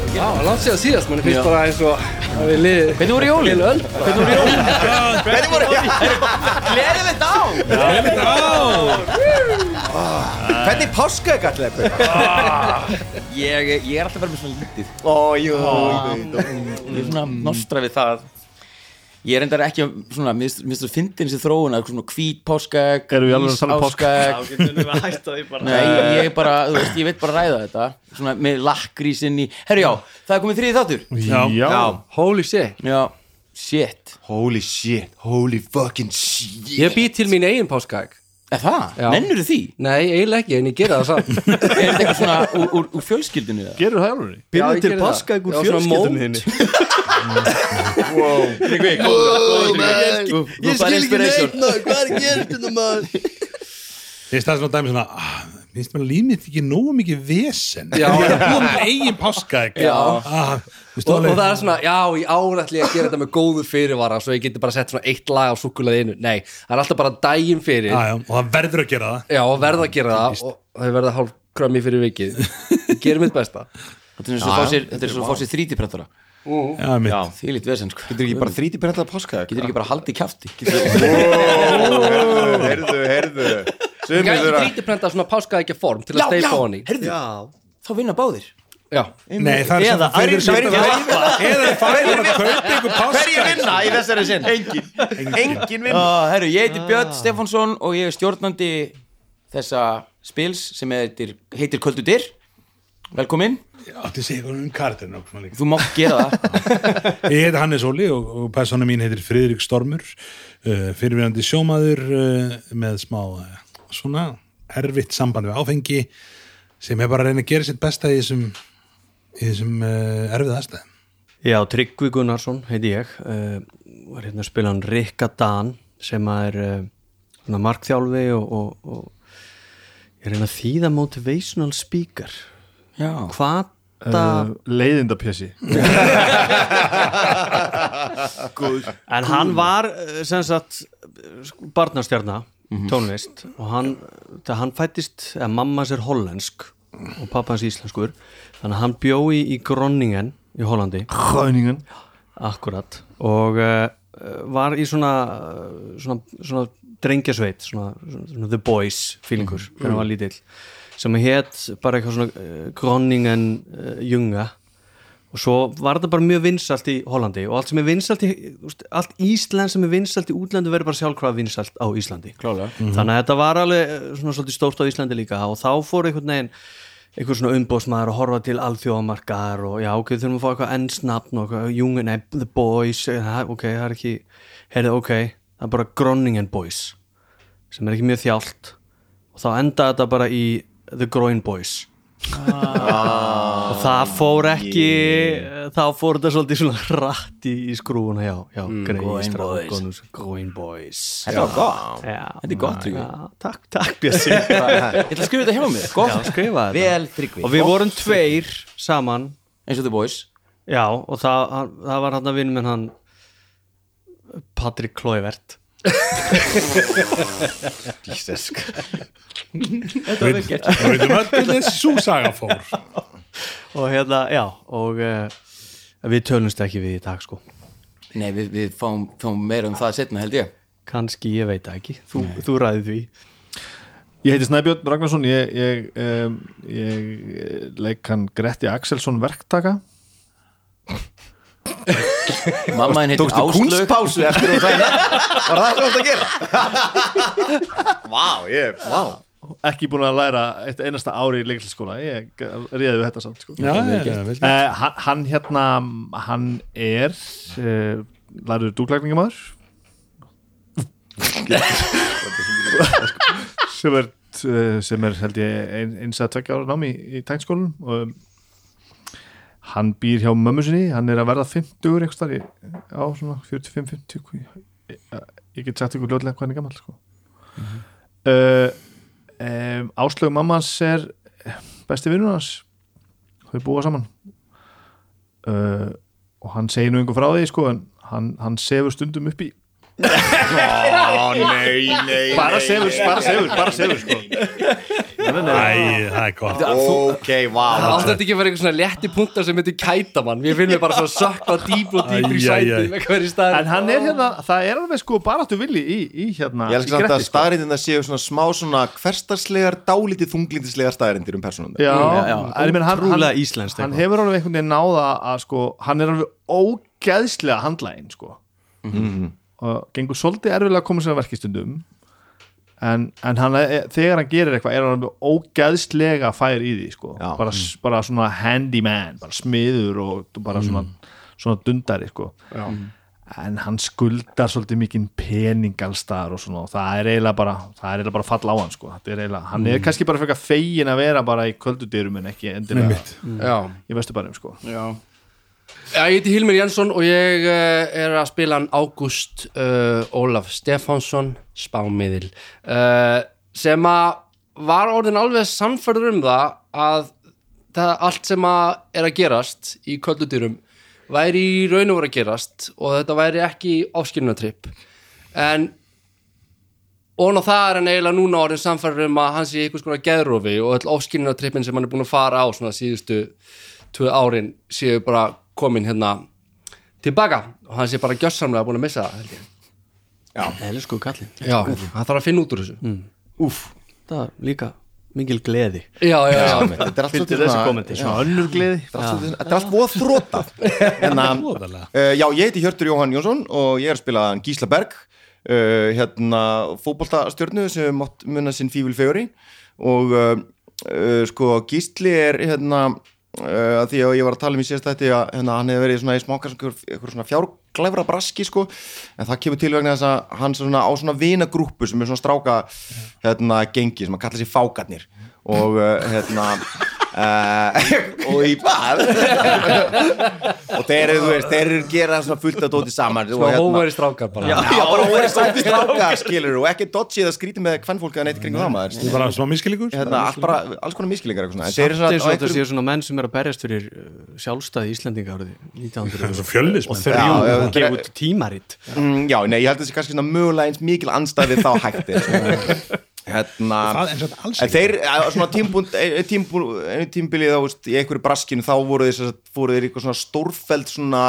að segja síðast, mann finnst bara eins og að við liðið Hvernig voru jólin? til öll. Hvernig voru jólin? Hvernig voru Gleðilegt á Gleðilegt ár! Hvernig páska ekki allir eitthvað? Ég, ég er alltaf verið með svona lítið. Ah. Mm. Ó, jú, Mm. jú, jú, jú. Ég er svona nostra við það. Ég er endar ekki að, svona, mér finnst- mér finnst þú fyndin sér þróun að eitthvað svona hvít páskæk, Erum við alveg að tala um páska? Já, ok, nú erum við að hætta því bara Nei, ég bara, þú veist, ég veit bara ræða þetta. Svona með lakkrísinn í, herru já, það er komið þriðið þáttur. Já. Holy shit. Já, shit. Holy shit, holy fucking shit Ég bý til mín eigin páskaegg. Er það? Já. Nennur því? Nei, eiginlega ekki, en ég gera það samt. Er þetta eitthvað svona úr, úr, úr fjölskyldinu það? Gerur það alveg? Já, ég geri það. Já, svona mót. þinni Ég skil ekki neitt maður, hvað er gerðinu maður? Ég staði svona dæmi svona ah, Minnst mér að líf mitt ekki nógu mikið vesen Já. Ég er búin með eigin páska ekki Já. ah, Og, og það er svona, já, ég árætli að gera þetta með góðu fyrirvara svo ég geti bara sett svona eitt lag á súkulaði innu. Nei, það er alltaf bara daginn fyrir. ah, já, Og það verður að gera það Já, og verða að gera það og þau verða hálf krömmi fyrir vikið. Ég Gerum mitt besta. Þetta er svo að fá sér- þetta er svo að fá sér þrítiprentara. Já, mitt Því lít vesen, sko. Getur ekki bara þríti brendað páska Getur ekki bara haldið kjafti Herðu, herðu Sumir Gæti þurfa grítiprenta svona páskaegja form til að Já, já, steipa honi. herðu, þá vinna báðir Já, Nei, það er Eða svona þeir eru samt aðrir að verða- Eða það er bara að kaupa einhver Hverjir páska vinna í þessari sinn? Engin Engin vinna uh, Herru, ég heiti Björn Stefánsson og ég er stjórnandi þessa spils sem heitir, heitir Köldu Dyr Velkomin, Átti að segja eitthvað um kartinu og svona líka. þú mátt gera það Ég heiti Hannes Óli og, og persóna mín heitir Friðrik Stormur uh, fyrirverandi sjómaður uh, með smá uh, svona erfitt samband við áfengi sem er bara að reyna að gera sitt besta í þessum, í þessum uh, erfið aðstæðum Já, Tryggvi Gunnarsson heiti ég uh, var hérna að spila hann Rikka Dan sem að er uh, svona markþjálfi og, og, og ég reyna að þýða motivational speaker Já, hvata Uh, leiðindapjössi en hann var uh, sem sagt uh, sko, barnastjarna tónlist og hann, það, hann fættist að mamma hans er hollensk og pappa hans íslenskur þannig að hann bjói í Groningen í Hollandi Hræningan Akkurat og uh, var í svona, uh, svona, svona drengjasveit svona, svona, svona The Boys fílingur þegar hann var lítill sem hétt bara eitthvað svona uh, Groningen uh, Junga og svo var þetta bara mjög vinsalt í Hollandi og allt sem er vinsalt í þú veist, allt Ísland sem er vinsalt í útlandu verður bara sjálfkrafa vinsalt á Íslandi klálega þannig að þetta var alveg eh, svona svolítið stórt á Íslandi líka og þá fór einhvern veginn einhver svona umbóðsmaður að horfa til alþjóðamarkar og já ok, þurfum að fá eitthvað ennsnafn og eitthvað, Jung, nei, The Boys eh, það- ok, það er ekki, heyrðu ok það er bara Groningen Boys sem er ekki mjög þjált og þá endaði þetta bara í The Groin Boys Ah. og það fór ekki þá fór þetta svolítið svona rætt í, í skrúuna, já, já, mm, Groin Boys. Groin Boys Þetta var gott, Já, þetta er gott Tryggvi Já, takk, takk Bjössi Ég ætla að skrifa þetta hjá mér, gott skrifa þetta Vel Tryggvi, Og við vorum tveir saman eins og The Boys Já, og það, hann, það var hann að vinna minn hann Patrik Klóivert og veitum öll til þessi súsaga fór Og hérna, já, og uh, við tölumst ekki við í dag sko Nei, við, við fáum, fáum meira um það setna held ég Kanski, ég veit það ekki, þú, þú ræði því Ég heiti Snæbjörn Ragnarsson ég, ég, um, ég leik hann Gretti Axelsson verktaka Mamma henn heitir Tókstu Áslög kunstpásu eftir og það Var það svona að gera? Vá, ég, vá ekki búin að læra eitt einasta ári í leiklisskóla ég ríði við þetta samt sko. Já, já, já, vel gert. Eh, hann, hann hérna hann er uh, lærður dúklækningamæður sem er eh, sem er held ég ein, eins að tvekja ára námi í, í tækskólum og um, hann býr hjá mömmu sinni hann er að verða 50 einhvers þar á svona 45-50 hvað- ég, eh, ég get sagt ykkur ljóðlega hvað hann er gammal sko. Mhm. mm um, Áslög mamma hans er besti vinnur hans þau búa saman Eh, uh, og hann segir nú einhver frá því sko en hann, hann sefur stundum upp í Ó, nei, nei bara nei, sefur, nei. bara sefur, bara sefur sko. Æ, það er gott Ok, vá Átti þetta ekki að vera einhver svona létti puntar sem myndi kæta mann Við finnum bara svona sökka dýp og dýpri í Æ, æ, æ. sæti með hverju stað en hann er hérna, það er alveg sko bara áttu villi í, í hérna Ég elskar í samt að Gretti, sko. staðrindina séu svona smá svona hverstarslegar, dálítið þunglindislegar staðrindir um persónum já, Já, já. en ég meina, hann, Ótrúlega hann- íslenskt hann eitthvað. hefur alveg einhvern veginn náða að sko, hann er alveg ógeðslega handlægin sko Mhm. og gengur svolítið erfilega að koma sér að verki stundum en, en hann, er- þegar hann gerir eitthvað er hann alveg ógeðslega fær í því sko, Já. bara, s- bara svona handyman, bara smiður og bara Mhm. svona, svona dundari sko en hann skuldar svolítið mikinn pening alls staðar og svona og það er eiginlega bara, það er eiginlega bara fall á hann sko. Þetta er eiginlega, hann er kannski bara fyrir fegin að vera bara í kvöldudyrum en ekki endilega Já í vesturbænum sko. Já. Já, ég heiti Hilmir Jansson og ég uh, er að spila hann Ágúst uh, Ólaf Stefánsson spámiðil uh, sem að var orðin alveg samferður um það að það allt sem að er að gerast í kölludýrum væri í raun og voru að gerast og þetta væri ekki áskilunatripp en og á það er hann eiginlega núna orðin samfæður um að hann sé einhvers konar geðrófi og öll ofskilinartrippin sem hann er búin að fara á svona síðustu tvö árin séu bara komin hérna tilbaka og hann sé bara gjössamlega búin að missa það held ég. elsku kallinn Já, hann þarf að finna út úr þessu það er líka mikil gleði Já, já, já, Þetta er allt Fylgdi svolítið þessu svona- kommenti, svona önnur gleði Þetta er allt svolítið svona- þetta er allt voða þróta Voðalega. uh, Já, ég heiti Hjörtur Jóhann Jónsson og ég er að spila hann Gísla Berg uh, hérna fótboltastjörnu sem mátt munna sinn fívil feguri og uh, uh, sko Gísli er hérna uh, að því að ég var að tala um í síðast þetta að hérna, hann hefur verið svona í smáka eitthvað svona fjárklæfra braski sko en það kemur til vegna þess að hann svona á svona vinagrúppu sem er svona stráka hérna gengi sem að kalla sér fákarnir og uh, hérna Uh, og í bað og þeir eru, þú veist, þeir eru gera svona fullt að dóti saman og hérna- já hóværi strákar bara já. Já, bara hóri sætti stráka, skilur og ekki dodgi eða skríti með kvennfólk eða neitt í kringum það maður Það er bara smá miskilíkur hérna, allt bara, alls konar miskillingar eitthvað svona En þeir eru Samt eins og þetta svona á séu svona menn sem er að berjast fyrir uh, sjálfstæði Íslendinga árið 1900 Svo fjölnis og Já, þrjú já, og þetta er- gefa út tímaritt einhverjum mm, Já, nei, ég held að þessi kannski svona mögulega eins mikil andstæði þá hætti sko. Hérna Það er eins og þetta alls En þeir, á svona eh, tímbúnd, tímbúnd, tímbilið á, veist, í einhverju braskinu þá voru þeir, sem sagt- voru þeir í eitthvað svona stórfeld svona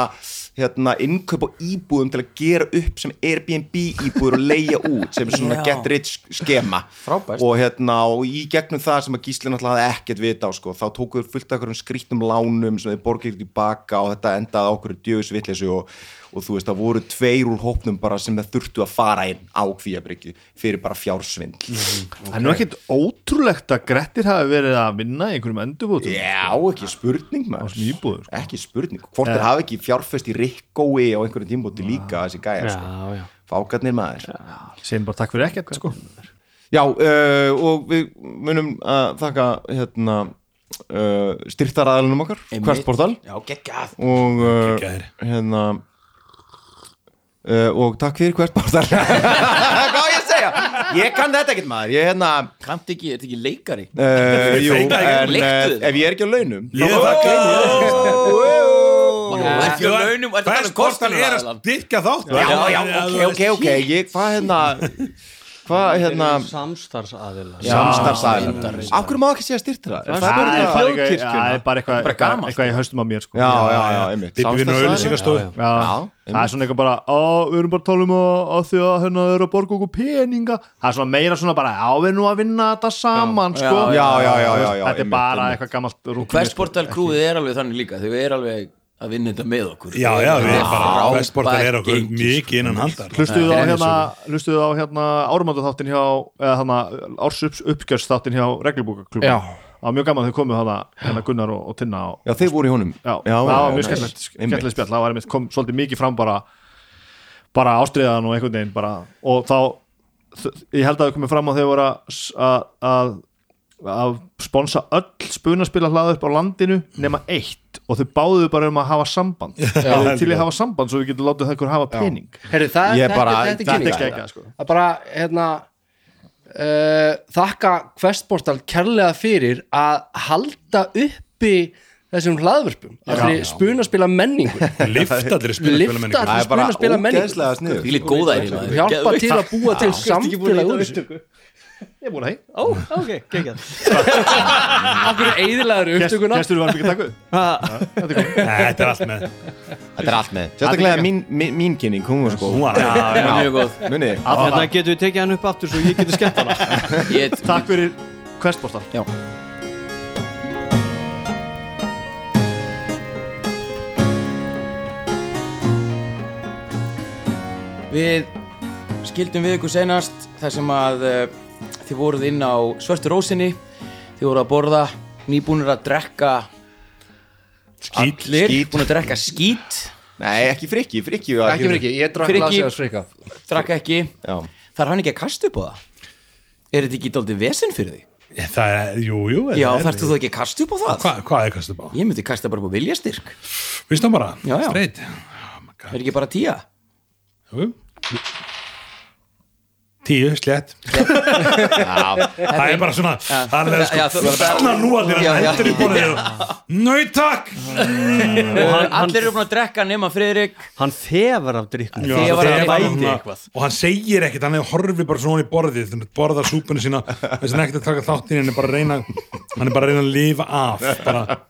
hérna, innkaup á íbúðum til að gera upp sem Airbnb íbúður og leia út sem er svona Já. get rich skema Frábært. og hérna og í gegnum það sem að Gísli náttúrulega hafði ekkert vita á sko, þá tóku þeir fullt af einhverjum skrýttum lánum sem þeir borgið tilbaka og þetta endaði á okkur djöfisvillessu og, og þú veist það voru tveir úr hópnum bara sem það þurftu að fara inn á kvíabryggi fyrir bara fjársvindl Það er nú ekkit ótrúlegt að Grettir hafi verið að vinna í einhverjum endurbútum Já, ekki spurning á maður svona íbúður sko. ekki spurning, hvort þeir hafa ekki fjárfest í rikkói á einhverjum tímbóti líka þessi gæja, sko. já, já. fákarnir maður já, Segin bara takk fyrir ekkert sko. uh, og við munum að þakka hérna uh, styrtaraðalunum okkar, hvert portal Já, geggjað og uh, Gæðir. hérna uh, og takk fyrir hvert portal hvað á ég að segja ég kann þetta ekkert maður, ég hérna Kamt ekki, er þetta ekki leikari? uh, jú, en uh, Leiktu þér. ef ég er ekki á launum Ég þakka Er þetta launum, er þetta Hvers kostan er að kostnaðaraðilan? styrkja þátt já, já, ok, ok, ok ég, hvað hérna hvað hérna samstarfsaðila samstarfsæðilandar af hverju má ekki segja styrtrar Það er bara bara eitthvað- þjóðkirkjuna. það er bara eitthvað eitthvað- eitthvað í haustum á mér sko. já, já, já, einmitt Bippi við nú auðlýsingastóð Já, Já, það er svona eitthvað bara á, við erum bara að tala um að, að því að hérna þau eru að borga okkur peninga það er svona meira svona bara, já við erum nú að vinna þetta saman, Já, sko já, já, já, já, já, þetta er einmitt, bara einmitt. eitthvað gammalt rúkum Hversportal krúið er alveg þannig líka Þau er alveg að vinna þetta með okkur Já, já, við Þetta er erum bara frábært Vestportar er okkur gengi, sko. mikið innan handar Hlustuðu á hérna, hlustuðu á hérna árumandatháttin hjá, eða hérna árs uppgjörstáttin hjá reglubúkaklubun Já. það var mjög gaman að þau komu hana, hérna Gunnar og, og Tinna og, já, þeir voru í honum já, það var mjög nice. skemmtilegt Einmitt. skemmtilegt spjall, það var einmitt kom svolítið mikið fram bara bara ástriðan og einhvern veginn bara, og þá þ- ég held að þau komið fram að þau voru að s- að- að að sponsa öll spunaspila hlaðu upp á landinu nema eitt og þau báðuðu bara um að hafa samband Eruð þið til í að hafa samband svo við getum látið það hafa pening Heri, það, Ég þetta, bara- þetta, þetta er þetta er geggjað, kynning sko. að bara hérna eh, uh, þakka Questportal kærlega fyrir að halda uppi þessum hlaðvörpum Þessari spunaspila menningu Lift allir spilaspila Lifta menningu Það allir er bara spunaspila menningu ógeðslega sko. sniður Því líkt góða er og hjálpa til að búa til samfélag úr þessu Ég er búin að hei Ó, ok, geggjað Akkur eðilaður upptökuna Gestur var mikið takkuð Þetta er allt með Þetta er allt með Sérstaklega mín, mín, mín kynning, hún var sko Hún var- Það er mjög góð Munið, þið? Þetta getum við tekið hann upp aftur svo ég getur skemmt hana Ég Takk fyrir questbósta Við skildum við ykkur senast þar sem að uh, þið voruð inn á Svörtu Rósinni þið voruð að borða, nýbúnir að drekka Skít. allir, búin að drekka skít Nei, ekki frikki, frikki var Ekki fyrir ekki, ég drakk Fyrir ekki. lasið að skrika drakka ekki, Já, þarf hann ekki að kasta upp á það er þetta ekki dálítið vesen fyrir því? Það er, jú, jú þetta Já, er- þarfst þú ekki að kasta upp á það? Hva- Hvað er kastup á? Ég myndi kasta bara upp á viljastyrk Vist það bara? Já, já. Streit er ekki bara tíja? Jú. Tíu, slett Það er bara svona Það er Já, sko þú- Þarna nú allir Já, hann já. hendur í borðið og, Nau takk Eh, Allir eru búin að drekka nema Friðrik Hann þefar af drikkun Já, Þegar það var er hann bara bæti svona- Og hann segir ekkert, hann horfi bara svona í borðið þannig að borða súpunni sína þess að ekkert að taka þáttinn, hann er bara að reyna hann er bara að reyna að lifa af bara,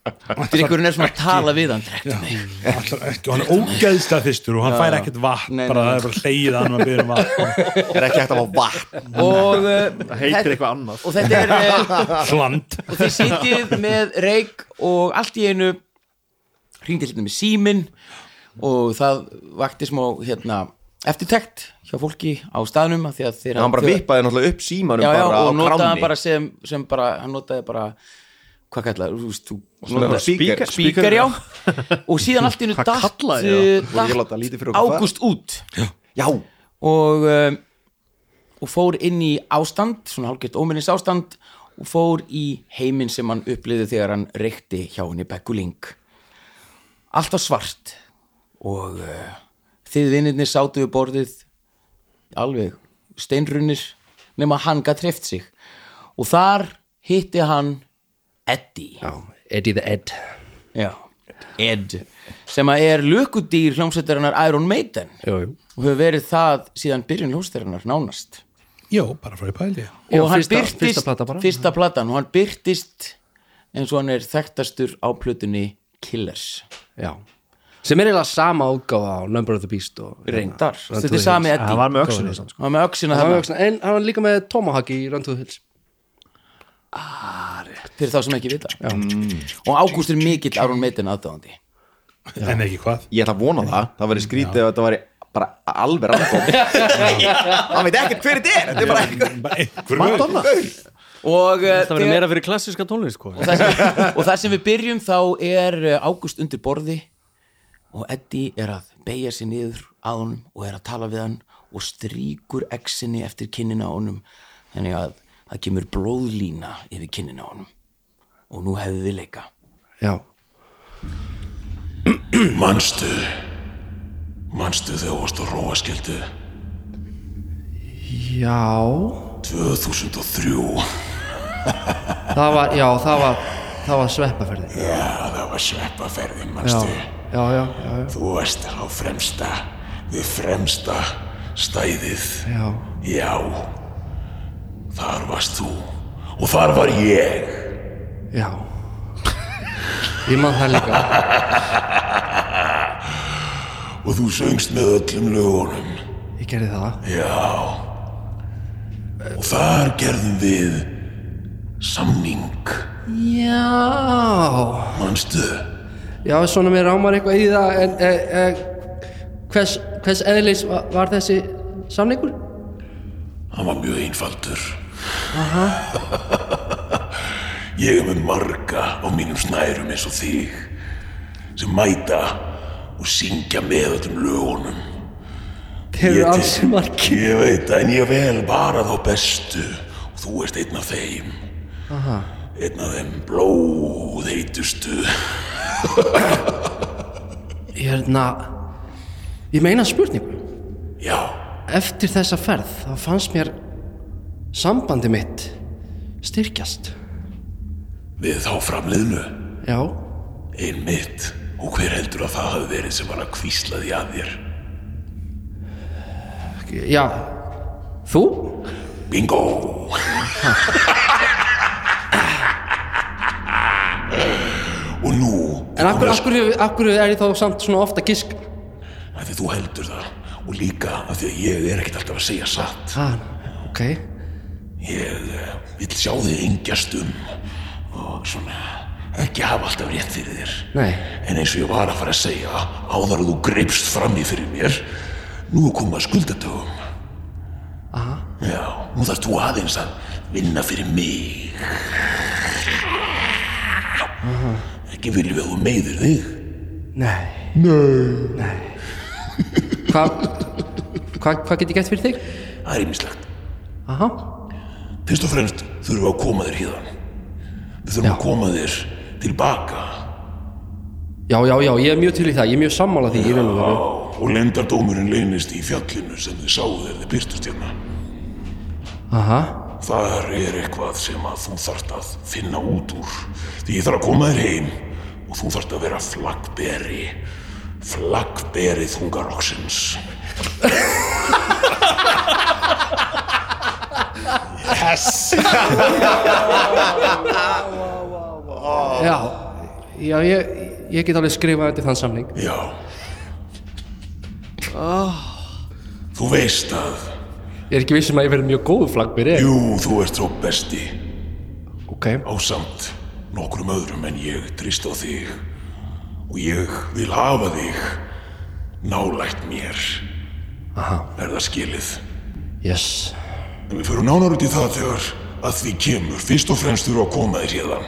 drikkurinn er svona að tala við hann drekka allar ekki, og hann er ógeðslega þystur og hann fær ekkert vatn, Nei, nei, bara nei. það er bara hleyið að hann að byrja um vatn, er ekki hægt að fá vatn og, uh, Það heitir þetta- eitthvað annað sko. og þetta er uh, hland og þið sitjið með reik og allt í einu hringdi hérna með símin og það vakti smá hérna, eftirtekt hjá fólki á staðnum af því að þeir Hann bara vippaði náttúrulega upp símanum já, já, bara og á notaði hann kráni bara sem, sem bara, hann notaði bara hvað kallar, þú veist, þú Svona notaði- speaker. speaker, já og síðan allt í einu Hvað datt, kallaði eh, Voru ég að láta lítið fyrir datt okkur fara? ágúst út Já, og, um, og fór inn í ástand, svona hálfgett óminnis ástand og fór í heiminn sem hann upplýði þegar hann reykti hjá henni Beggu Link. Allt var svart og uh, þið vinnirnir sátu við borðið alveg steinrunir nema hann gætt treft sig og þar hitti hann Eddie Já, Eddie the Ed Já. Ed sem að er lukudýr hljómsveitarinnar Iron Maiden Jú, jú og hefur verið það síðan byrjun hljómsveitarinnar nánast Jó, bara frá í pæli Já, og hann fyrsta- byrtist fyrsta plata bara. fyrsta platan og hann byrtist eins og hann er þekktastur á plötunni Killers Já sem er eiginlega sama útgáfa á Number of the Beast og reyndar, Run to þetta the er sami Hills. Eddie Það var með öxinu samt, sko. hann var með öxina Hann var þarna, öxna- en hann var líka með Tomahawk í Run to the Hills fyrir þá sem ekki vita og Ágúst er mikill Iron Maiden aðdáðandi en ekki hvað ég ætla að vona það Það væri skrítið ef þetta væri bara alveg rannkom Hann veit ekkert hver þetta er Þetta er bara eitthvað Bara einhver Madonna og, eh, Það verður þegar- meira fyrir klassiska tónlist sko. og, það sem, og það sem við byrjum þá er eh, Ágúst undir borði og Eddie er að beigja sér niður að honum og er að tala við hann og strýkur exinni eftir kinnina á honum þannig að það kemur blóðlína yfir kinnina á honum og nú hefðu við leika Já, Manstu Manstu þegar þú varst á róaskildu já 2003 Það var, já, það var það var sveppaferði Já, það var sveppaferðin, manstu Já, já, já, já, Þú varst á fremsta Við fremsta stæðið já. Já Þar varst þú Og þar var ég já. Ég man það líka Og þú söngst með öllum lögunum Ég gerði það Já Og þar gerðum við Samning Já Manstu Já, svona mér rámar eitthvað í það en e, e, hvers, hvers eðlis var, var þessi samningur? Hann var mjög einfaldur. ég er með marga á mínum snærum eins og þig sem mæta og syngja með öllum lögunum. Þeir Ég eru tek- ansi margir Ég veit það, en ég vel bara þá bestu og þú ert einn af þeim. Aha. Einn af þeim blóðheitustu. Ég hérna Ég meina spurningu Já, Eftir þessa ferð þá fannst mér sambandi mitt styrkjast við þá framliðnu. Já, Einmitt, og hver heldur að það hafi verið sem var að kvísla því að þér? Já, þú? Bingo! og nú, En akkur, akkur, akkur er ég þá samt svona ofta gisk af því þú heldur það, og líka af því að ég er ekkert alltaf að segja satt. ah, Ok, Ég eh, vill sjá þig engjast um og svona ekki hafa alltaf rétt fyrir þér. Nei. En eins og ég var að fara að segja, áðar að þú greipst fram í fyrir mér, nú er komið að skuldatöfum. Aha. Já, nú þarfst þú aðeins að vinna fyrir mig. Ekki viljum við að þú meiðir þig. nei Nei Nei Hvað hva, hva get ég gett fyrir þig? Það er ýmislegt. Aha, Fyrst og fremst þurfum við að koma þér híðan. Við þurfum að koma þér tilbaka. já, já, já, ég er mjög til í það Ég er mjög sammála því í raun og veru og lendardómurinn leynist í fjallinu sem þið sáu þegar þið byrtust hérna. Aha, Þar er eitthvað sem að þú þart að finna út úr. Því ég þarf að koma þér heim og þú þart að vera flagberi. Flagberi þungaroksins. já Já, ég, ég get alveg skrifað undir þann samling Já. Þú veist að, Ég er ekki vissum að ég verði mjög góð flagbyrði jú, þú ert svo besti Ok, ásamt nokkrum öðrum en ég trist á þig og ég vil hafa þig nálægt mér. Aha. Er það skilið? yes En við fyrir nánar út í það þegar að því kemur. Fyrst og fremst þurfa að koma þér hérna.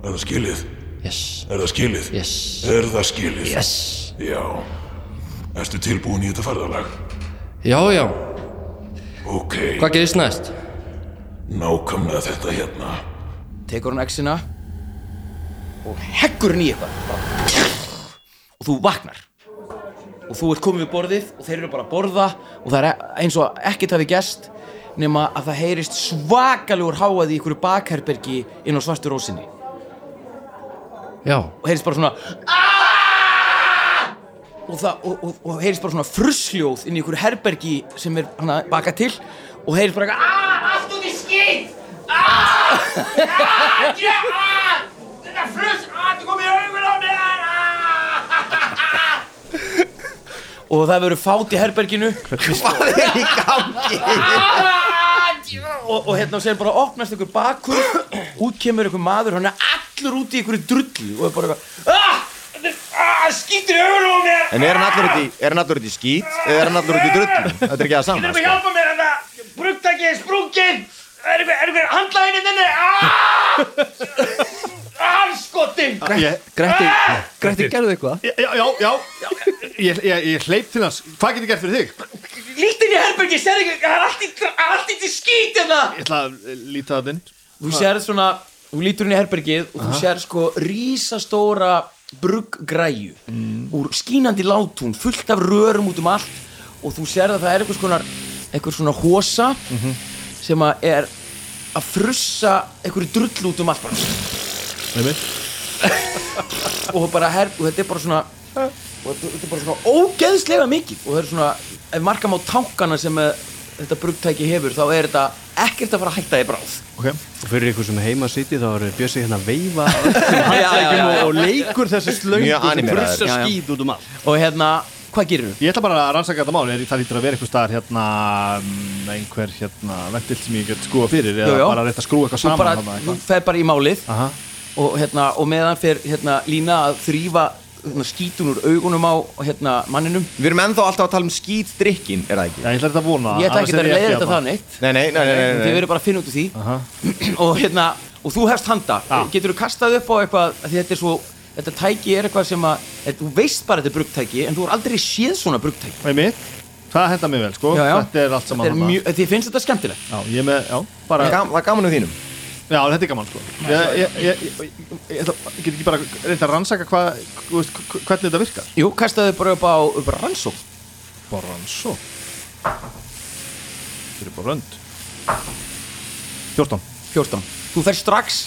Er það skilið? Yes, Er það skilið? Hmm. yes Er það skilið? Yes Já. Erstu tilbúin í þetta ferðalag? Já, já, Ok, hvað gerist næst? nákvæmlega þetta hérna. tekur hann exina og heggur hann í eitthvað og þú vaknar og þú ert komið við borðið og þeir eru bara að borða og það er eins og ekkert hafi gest nema að það heyrist svakalugur háað í einhverju bakherbergi inn á svartu rósinni og Já, heyrist bara svona "Aaaah!" og, það, og, og, og heyrist bara svona frusljóð inn í einhverju herbergi sem er hann að baka til og heyrist bara eitthvað "Aaaah!" Allt út í skýt! Ah! Ah! Ég, ah! Þetta frus, ah, þetta kom í augun á mér! Ah! og það verður fát í herberginu Hvað er í gangi? Ah! og, og hérna og sér bara opnast einhver bakur út kemur einhver maður hann er allur út í einhverju drullu og er bara eitthvað "Ah, þetta er- ah, skýtur í augunum á mér En er hann allur út í, er hann allur út í skít eða er hann allur út í drullu? Þetta er ekki það sko. Þetta saman er að hjálpa mér hérna! Brugtaki er sprungin! Er einhver, er einhver handlæðin þinni? Ah! Ah! Arskotin! Gretti, Gretti, gerðu eitthvað? Já, já, já, já. Ég, ég, ég hleyp til hans Hvað getur ég gert fyrir þig? Lítinn í herbergi, sér ekki, það er allt í, allt í skýt hérna! Ég ætla að eh, líta það inn þú sér svona, þú lítur inn í herbergið og þú sér sko rísastóra brugggræju úr skínandi látún, fullt af rörum út um allt og þú sér að það er einhvers konar einhvers svona hósa sem að er að frussa einhverju drullu út um allt bara og bara her, og þetta er bara svona og þetta þetta er bara svona ógeðslega mikið og það er svona, ef markam á tankana sem eh, þetta brugtæki hefur þá er þetta ekkert að fara að hætta í bráð Ok Og fyrir ykkur sem heima sitið þá er Bjössi hérna að veifa já, já, já. handlækjum og leikur þessi slöngu Mjög sem animeraður. brussa Já, já. skýt út um allt og hérna, hvað gerir þú? Ég ætla bara að rannsaka þetta mál, er, það lítur að vera einhver staðar hérna, mm, einhver hérna ventil sem ég get skrúa fyrir eða Jú, jú. bara rétt að skrúa eitthvað Þú saman bara, þarna þú eitthvað. fer bara í málið Aha. og hérna, og meðan fer hérna Lína að þrýfa hérna, skítun úr augunum á hérna manninum Við erum ennþá alltaf að tala um skítdrykkin, er það ekki? Já, ég ætla þetta að vona ég ætla annars er ekki að leiða þetta hérna. það neitt Nei, nei, nei, nei, nei, þið nei. verður bara að finna út úr því og hérna, og þú hefst handa Ah. getur þú kastað upp á eitthvað af því þetta er svo, þetta tæki er eitthvað sem að þetta- þú veist bara þetta er brugtæki en þú er aldrei séð svona brugtæki Einmitt, það henda mér vel sko, þetta er allt saman þetta er þarna. mjög, því finnst þetta skemmtilegt Já, ég er með, já, bara, Gam- Það er gaman um þínum já, þetta er gaman sko Ég, ég, ég, ég, ég, ég ætla- get ekki bara reynda að rannsaka hvað, þú veist, hv- hvernig þetta virkar jú, kastaðu bara upp á upp á rannsók Bara rannsó Þetta er bara rönd 14 14, þú fer strax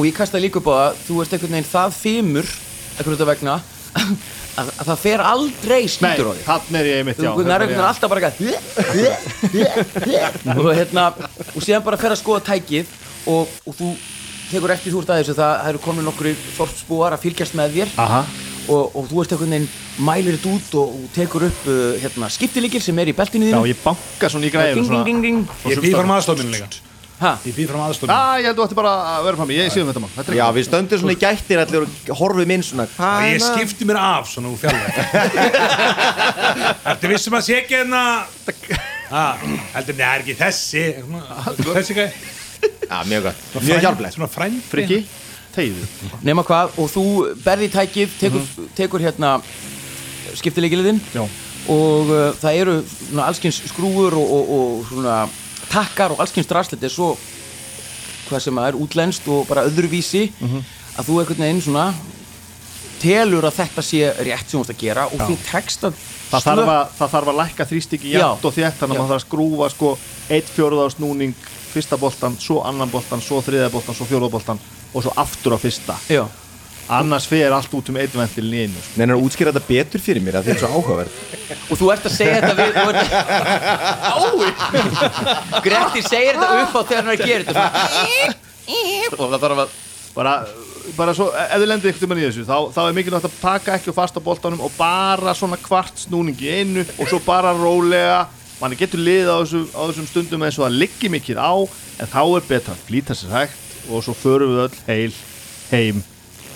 og ég kastaði líka upp á það þú ert einhvern veginn það fimur einhvern veginn vegna að, að það fer aldrei Nei, skýtur á þig þannig er ég mitt, já þú nærður einhvern veginn alltaf bara eitthvað og hérna og síðan bara fer að skoða tækið og, og þú tekur eftir þú ert aðeins það, það eru komin nokkru þorpsbúar að fylgjast með þér Aha. og, og þú ert einhvern veginn mælir þetta út og, og tekur upp uh, hérna, skiptilíkil sem er í beltinu Já, þínu ég banka svona í græðinu ding, svona ding, ding, Ég svo býð stór- fram aðstofninu líka Ha? Ég býð fram aðstofninu Æ, ég held þú ætti bara að vera fram í, ég séum þetta mann Þetta er Já, ekki við stöndum svona í gættir allir og horfum inn svona Og Hvað ég er það? skipti mér af svona úr fjallveg Ertu vissum að sé ekki hérna Ah, heldur mér, það er ekki þessi Þessi gæ Já, mjög gott, mjög hjálplegt Svona frændi friki Tegðu nema hvað og þú berði í tækið tekur, tekur hérna skiptileikiliðin Já. og uh, það eru svona, allskins skrúur og, og, og svona takkar og allskins draslit er svo hvað sem er útlenskt og bara öðruvísi að þú einhvern veginn svona telur að þetta sé rétt sem þú ert að gera og því tekst að Það slökk- þarf, að, það þarf að lækka þrýstingi jætt Já. og þétt þannig að Já. maður þarf að skrúfa sko eitt fjórða á snúning fyrsta boltan, svo annan boltan, svo þriða boltan, svo fjórða boltan og svo aftur á fyrsta Já. annars fer allt út um einn ventilin í einu sko. Nei, að útskýra þetta betur fyrir mér að þetta er svo áhugaverð og þú ert að segja þetta við þú ert að Ái! Gretti segir þetta upp á þegar hann er að gera þetta svona, og það þarf að bara, bara svo, e, ef þið lendir ykkur mann í þessu þá, þá er mikilvægt að taka ekki fast á boltanum og bara svona kvart snúning í einu og svo bara rólega mann getur liðið á, þessu, á þessum stundum eins og það liggi mikið á en þá er betra að flýta sér hægt og svo förum við öll heil heim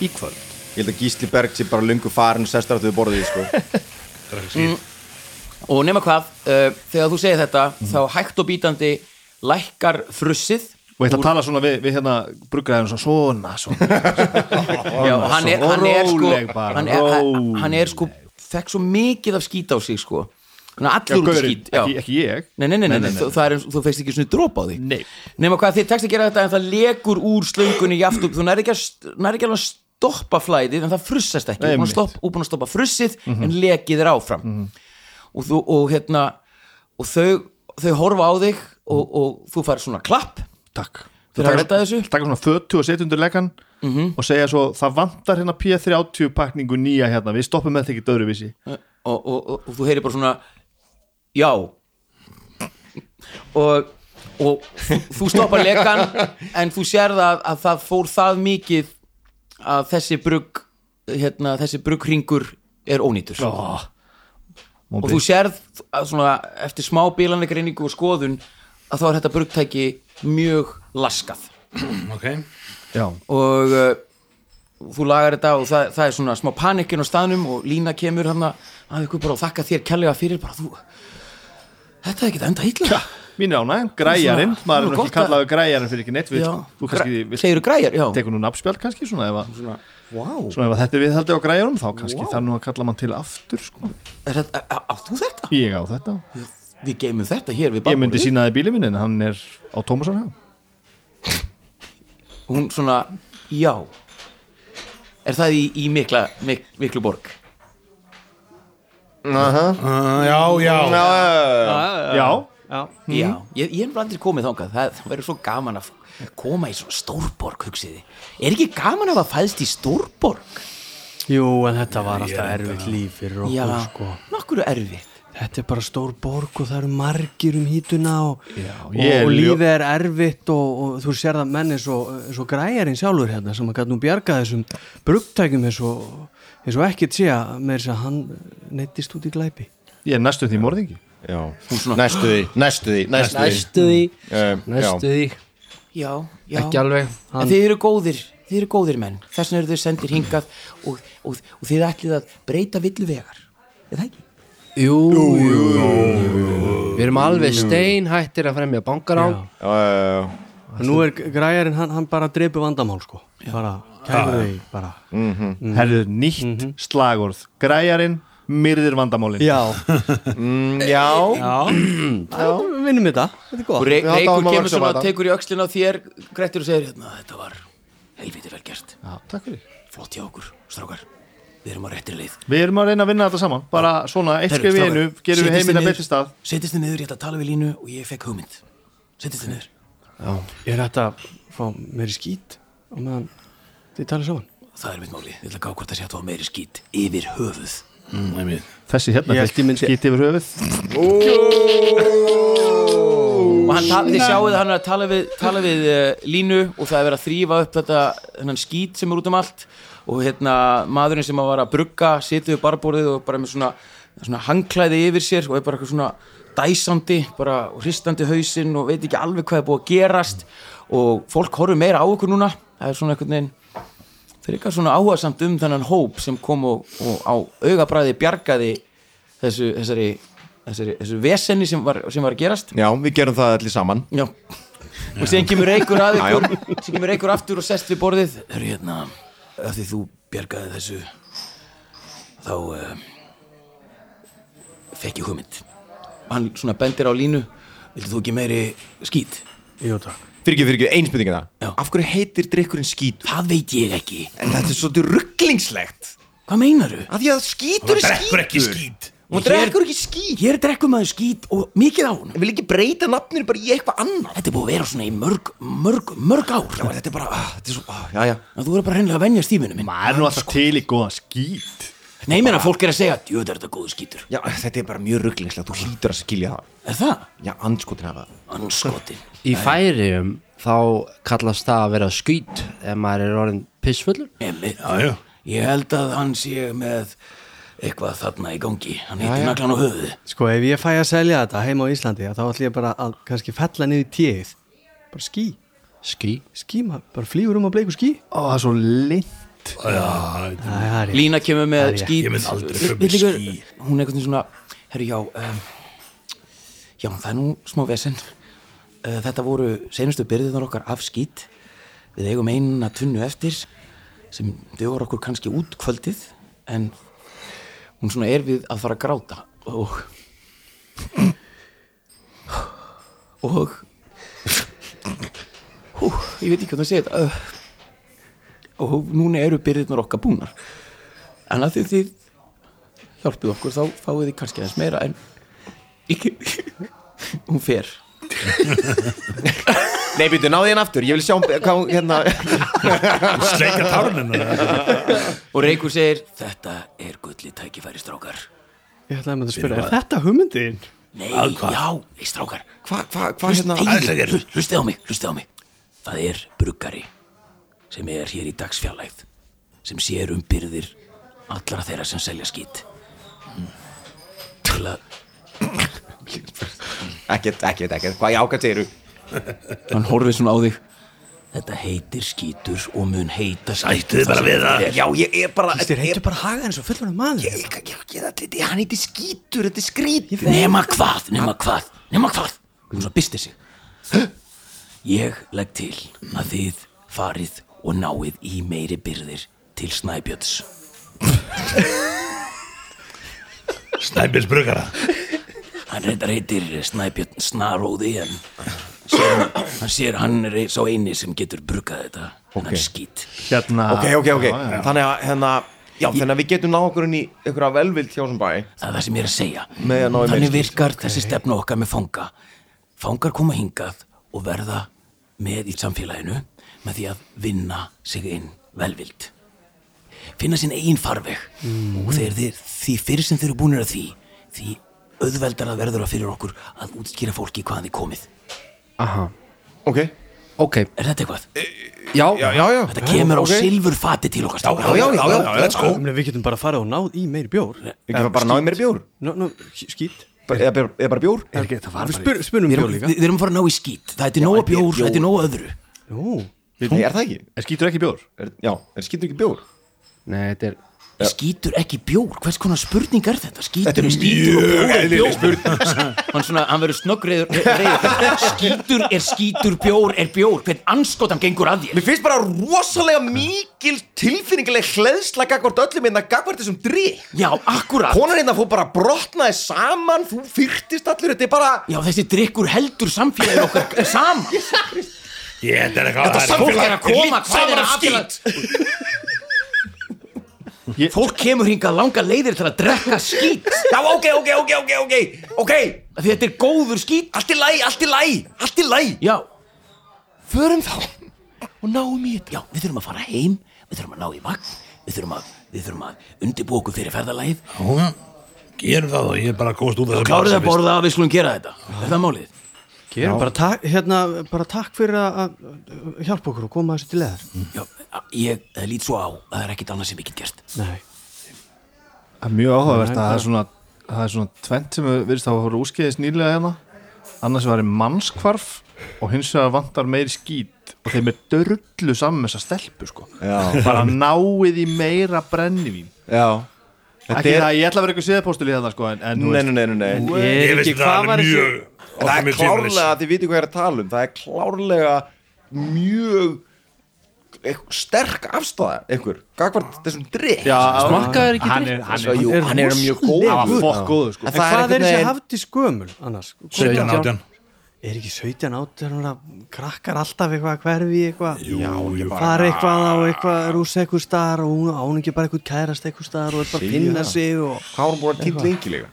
í kvöld Ég held að Gísli Berg sé bara lungu farin og sestar að þau borðið, sko Og nema hvað, uh, þegar þú segir þetta Mm. þá hægt og bítandi lækkar frussið og ég ætla að tala svona við, við hérna bruggraðum svona, svona, Já, og hann er, svona, hann er sko róleg bara, hann er, hann- róleg. hann er sko fekk svo mikið af skít á sig sko Þannig að Já, allur út í gaurinn, skít já. ekki, ekki ég Nei, nei, nei, nei, nei, þú- það er, eins og þú feist ekki svona dropa á því Nei. Nema hvað, þið tekst að gera þetta en það lekur úr slöngunni jaft upp Þú nær ekki, að st- nær ekki alveg að stoppa flæðið en það frussast ekki Þú er búin að Einmitt. stoppa- þú er búin að stoppa frussið en lekið er áfram og, þú, og hérna og þau, þau horfa á þig og, og þú fær svona klapp takk Fyrir að redda þessu? taka svona fötu og setja undir legan og segja svo það vantar hérna P30 pakningu nýja hérna við stoppum með þetta ekki döðruvísi og, og, og, og þú heyrir bara svona já og, og þú- þú stoppar lekan en þú sér það að það fór það mikið að þessi brugg hérna, þessi bruggringur er ónýtur oh, og þú sérð að svona eftir smá bílanleikarinningu og skoðun að þá er þetta bruggtæki mjög laskað Ok já, og uh, þú lagar þetta og það, það er svona smá panikkin á staðnum og Lína kemur hann að ykkur bara og þakka þér kærlega fyrir bara þú þetta er ekki enda illa mín rána, græjarinn Svona- maður er Nú, nú ekki gott að- kallaður græjarinn fyrir ekki neitt við, þú kannski Gra- við segirðu græjar, já tekur nú nafnspjald kannski svona ef, að, svona, wow, svona ef að þetta er viðhaldið á græjarum þá kannski þarf nú að kalla mann til aftur sko. er þetta, á- á- átt þú þetta? ég á þetta, við geymum þetta hér við ég myndi bakborðið. sína það í bíli minn en hann er á Tómasarhaga hún svona, já er það í, í mikla, mik, miklu borg uh, Já, já já, Já, já, ég, ég er bara aldrei komið þangað það, það verður svo gaman að koma í svona stórborg hugsiði, er ekki gaman að það fæðst í stórborg? jú, en þetta var alltaf erfitt líf fyrir okkur, já, sko nokkuru erfitt Þetta er bara stór borg og það eru margir um hítuna og, og, ég er og ljó- lífið er erfitt og, og þú sér það menn eins og, eins og græjarinn sjálfur hérna sem að gæti nú bjarga þessum brugtækjum eins og, eins og ekkert sé að með þess að hann neittist út í glæpi. ég er næstu því morðingi Já, næstu því, næstu því, næstu því Næstu því Um, Næstu já. því, já, já ekki alveg en þið eru góðir, þið eru góðir menn þess vegna eru þið sendir hingað og, og, og þið ætlið að breyta villu vegar er það ekki? Jú, jú, jú, jú, Við erum alveg steinhættir að fremja bankarán Já, já, já, já. Og nú er græjarinn, hann, hann bara dreipi vandamál sko, bara kæfur því bara. Mm-hmm. herðu nýtt slagorð græjarinn, myrðir vandamálin Já, Mm, Já, við vinnum þetta, þetta er og gott. Re- Já, það var Reykur kemur maður sem svona var og það. tekur í öxlina á þér Grettir og segir hérna, þetta var helviti vel gert Já, takk fyrir flott hjá okkur, strákar við erum á réttri leið Við erum að reyna að vinna þetta saman, bara svona eitt Heyrðu, skrif í strákar, einu, gerum við setjist heiminn þið að niður- betri stað setjist þið niður, ég ætla að tala við línu og ég fekk hugmynd setjist þið niður Er þetta að fá meiri skít á og meðan þið talið saman Það er mitt máli, ég ætla að gá hvort það sé að þú á meiri skít Yfir höfuð þessi Ég hérna held ég myndi- skýti yfir höfuð Og hann tala, þið sjáu það hann er að tala við, tala við uh, línu Og það er verið að þrýfa upp þetta Hennan skít sem er út um allt Og hérna maðurinn sem að var að brugga Situr við barborðið og bara með svona Svona hangklæði yfir sér Og er bara eitthvað svona dæsandi Bara og hristandi hausinn og veit ekki alveg hvað er búið að gerast Og fólk horfir meira á ykkur núna Það er svona einhvern veginn Þeir eru eitthvað svona áhugasamt um þennan hóp sem kom og, og á augabræði bjargaði þessu, þessari, þessari, þessu vesenni sem var, sem var að gerast. Já, við gerum það allir saman Já. Og síðan kemur einhver að ykkur, síðan kemur einhver aftur og sest við borðið. Hörru hérna, af því þú bjargaði þessu, þá uh, fekk ég hugmynd. Hann svona bendir á línu, viltu þú ekki meiri skít? Jú, takk Fyrir ekki, fyrir ekki, einspurningina Já. hérna. Af hverju heitir drikkurinn skítur? Það veit ég ekki. En þetta er svolítið rugglingslegt Hvað meinaru? Af því að skítur er Drekkur skítur ekki skít Hún drekkur ekki skít Hér drekkum maður skít og mikið á honum. Ég vil ekki breyta nafninu bara í eitthvað annað Þetta er búið að vera svona í mörg, mörg, mörg ár Já, þetta er bara, ah, þetta er svo, ah, já, já að Þú verður bara hreinlega að venja stíminu minn maður er nú alltaf til í góða skít Nei, mér að fólk er að segja, jú, þetta er þetta góðu skítur Já, þetta er bara mjög rugglingslegt, þú hlýtur að skilja það Er það? Já, andskotin hafa það Anskotin Í færiðum þá kallast það að vera skýt ef maður er orðin pissfullur Emil, já. Ég held að hann sé með eitthvað þarna í gangi Hann heitir naglan á höfuðu Sko, ef ég fæ að selja þetta heima á Íslandi þá ætlum ég bara að kannski fella niður í tíð bara ský, Ský ský maður, bara flýgur um að bleiku ský Ó, það er svo lind Æ, það er ég Lína kemur með skít Ég myndi aldrei Vill- fara með vill ykkur- skít. Hún er eitthvað svona, herru, já um, Já, það er nú smá vesen uh, Þetta voru senustu byrðinar okkar af skít Við eigum eina tunnu eftir sem dögur okkur kannski út kvöldið en hún svona er við að fara að gráta og og hú, ég veit ekki hvað það segja þetta uh, og núna eru byrðirnar okkar búnar en að því þið hjálpið okkur þá fáið þið kannski aðeins meira en ekki hún fer Nei, býttu, náði hérna aftur, ég vil sjá hvað, hún- hérna Sleika tárnina og Reykur segir þetta er gulli tækifæri strákar ætlaði með að spyrja, er þetta hugmyndin? nei, já, ei strákar Hvað, hvað, hvað, hérna Ætla Hlustið þér. hlustið á mig, hlustið á mig Það er bruggari sem er hér í dagsfjarlægð sem sér um byrðir allra þeirra sem selja skít til að Ekkert, ekkert, ekkert, hvað ég ákvæmt segir hann horfið svona á þig Þetta heitir skítur og mun heita skítur Ættu þar bara sem við það. er. Já, ég er bara Þið reyndu bara að haga eins og fullur maður Ég, ég, ég, ég, ég, hann heiti skítur, þetta er skrítið Nema hvað, nema hvað, nema hvað Hún svo byrstir sig Ég legg til að þið farið og náið í meiri byrðir til Snæbjörns Snæbils brugara Hann reyndar heitir Snæbjörn Snaróði en sér, hann sér hann er ein- sá eini sem getur brugað þetta okay. hann skýt hérna Ok, ok, ok, þannig að, hérna Já, þannig að við getum náð okkur inn í einhverja velvild hjá sem bæ það er það sem ég er að segja Nei, já, ná, ég þannig meina, virkar þessi stefna okkar með fanga fangar koma hingað og verða með í samfélaginu með því að vinna sig inn velvild finna sinn eigin farveg og þegar þeir, því fyrir sem þeir eru búinir að því því auðveldar að verður að fyrir okkur að útskýra fólki hvaðan þið komið Aha Ok, Ok, er þetta eitthvað? já, já, já Þetta kemur á silfurfati til okkar strákar. Já, já, já, já, let's go Ég meina, Við getum bara að fara og náð í meiri bjór Við getum bara að náði mér bjór no, no, Skýt Bara- Eða bara- eða bara bjór Við spyr, spyrum Við bjór erum, líka við við erum að fara að ná í skít Það er til nóga bjór, það er til nóga öðru Jú, Nei, er það ekki? Er skítur ekki bjór? Er, já, er skítur ekki bjór? Nei, þetta er Skítur ekki bjór, hvers konar spurning er þetta? Skítur er skítur og bjór er bjór Hann, svona, hann verður snöggriður reiður. Skítur er skítur, bjór er bjór Hvern anskotam gengur að þér Mér finnst bara rosalega mikil tilfinningileg hleðsla gagvart öllum hérna gagvart þessum drikk Já, akkurat Konan hérna fór bara brotnaði saman, þú fyrtist allur, þetta er bara Já, þessi drikkur heldur samfélagið okkar saman Ég, þetta er eitthvað Þetta Fólk er að koma, hvað er að skít. afhjala- Fólk kemur hingað langa leiðir til að drekka skít Já, ok, ok, ok, ok, ok, ok Af því Þetta er góður skít Allt í læ, allt í læ, allt í læ Já, Förum þá og náum í þetta já, við þurfum að fara heim, við þurfum að ná í vagn við þurfum að, við þurfum að undirbúa okkur fyrir ferðalagið Já, gerum það og ég er bara að komast út af þessu klárið barsa að fyrst. borða að við skulum gera þetta er það málið? Gerum bara takk, hérna, bara takk fyrir að að hjálpa okkur og koma þessu til leðar já, ég það lít svo á að það er ekkit annað sem ég get gert Nei, Það er mjög áhugavert að Nei, það það- er svona það er svona tvent sem við virðist að voru úskeiðis nýlega hérna annars var mannskvarf og hins vegar vantar meiri skít og þeim er dörrullu saman með þessa stelpu sko Já. bara náið í meira brennivín Já. Þetta ekki er... það, ég ætla að vera eitthvað siðapóstul í þetta sko en, en þú Nei, veist, nei, nei, nei, nei. Ég veist að það er mjög En Það er klárlega, þið vitið hvað ég er að tala um Það er klárlega mjög einhver- sterk afstæða einhver, gagvart þessum drikk já, Smakkaður ekki hann drikk? er, hann Svo, er, jú, er hann er mjög góð hann var fokk góður sko En en hvað það er er einhvern þessi veginn- hafdís gömul annars? Sveitjan átjan Er ekki 17 áttur hún krakkar alltaf eitthvað hverfi eitthvað Jú, jú Það er eitthvað á eitthvað rúsa eitthvað star og hún án ekki bara eitthvað kærast eitthvað star og er bara að finna sig og Hvað var hann búin að týnt lengi líka?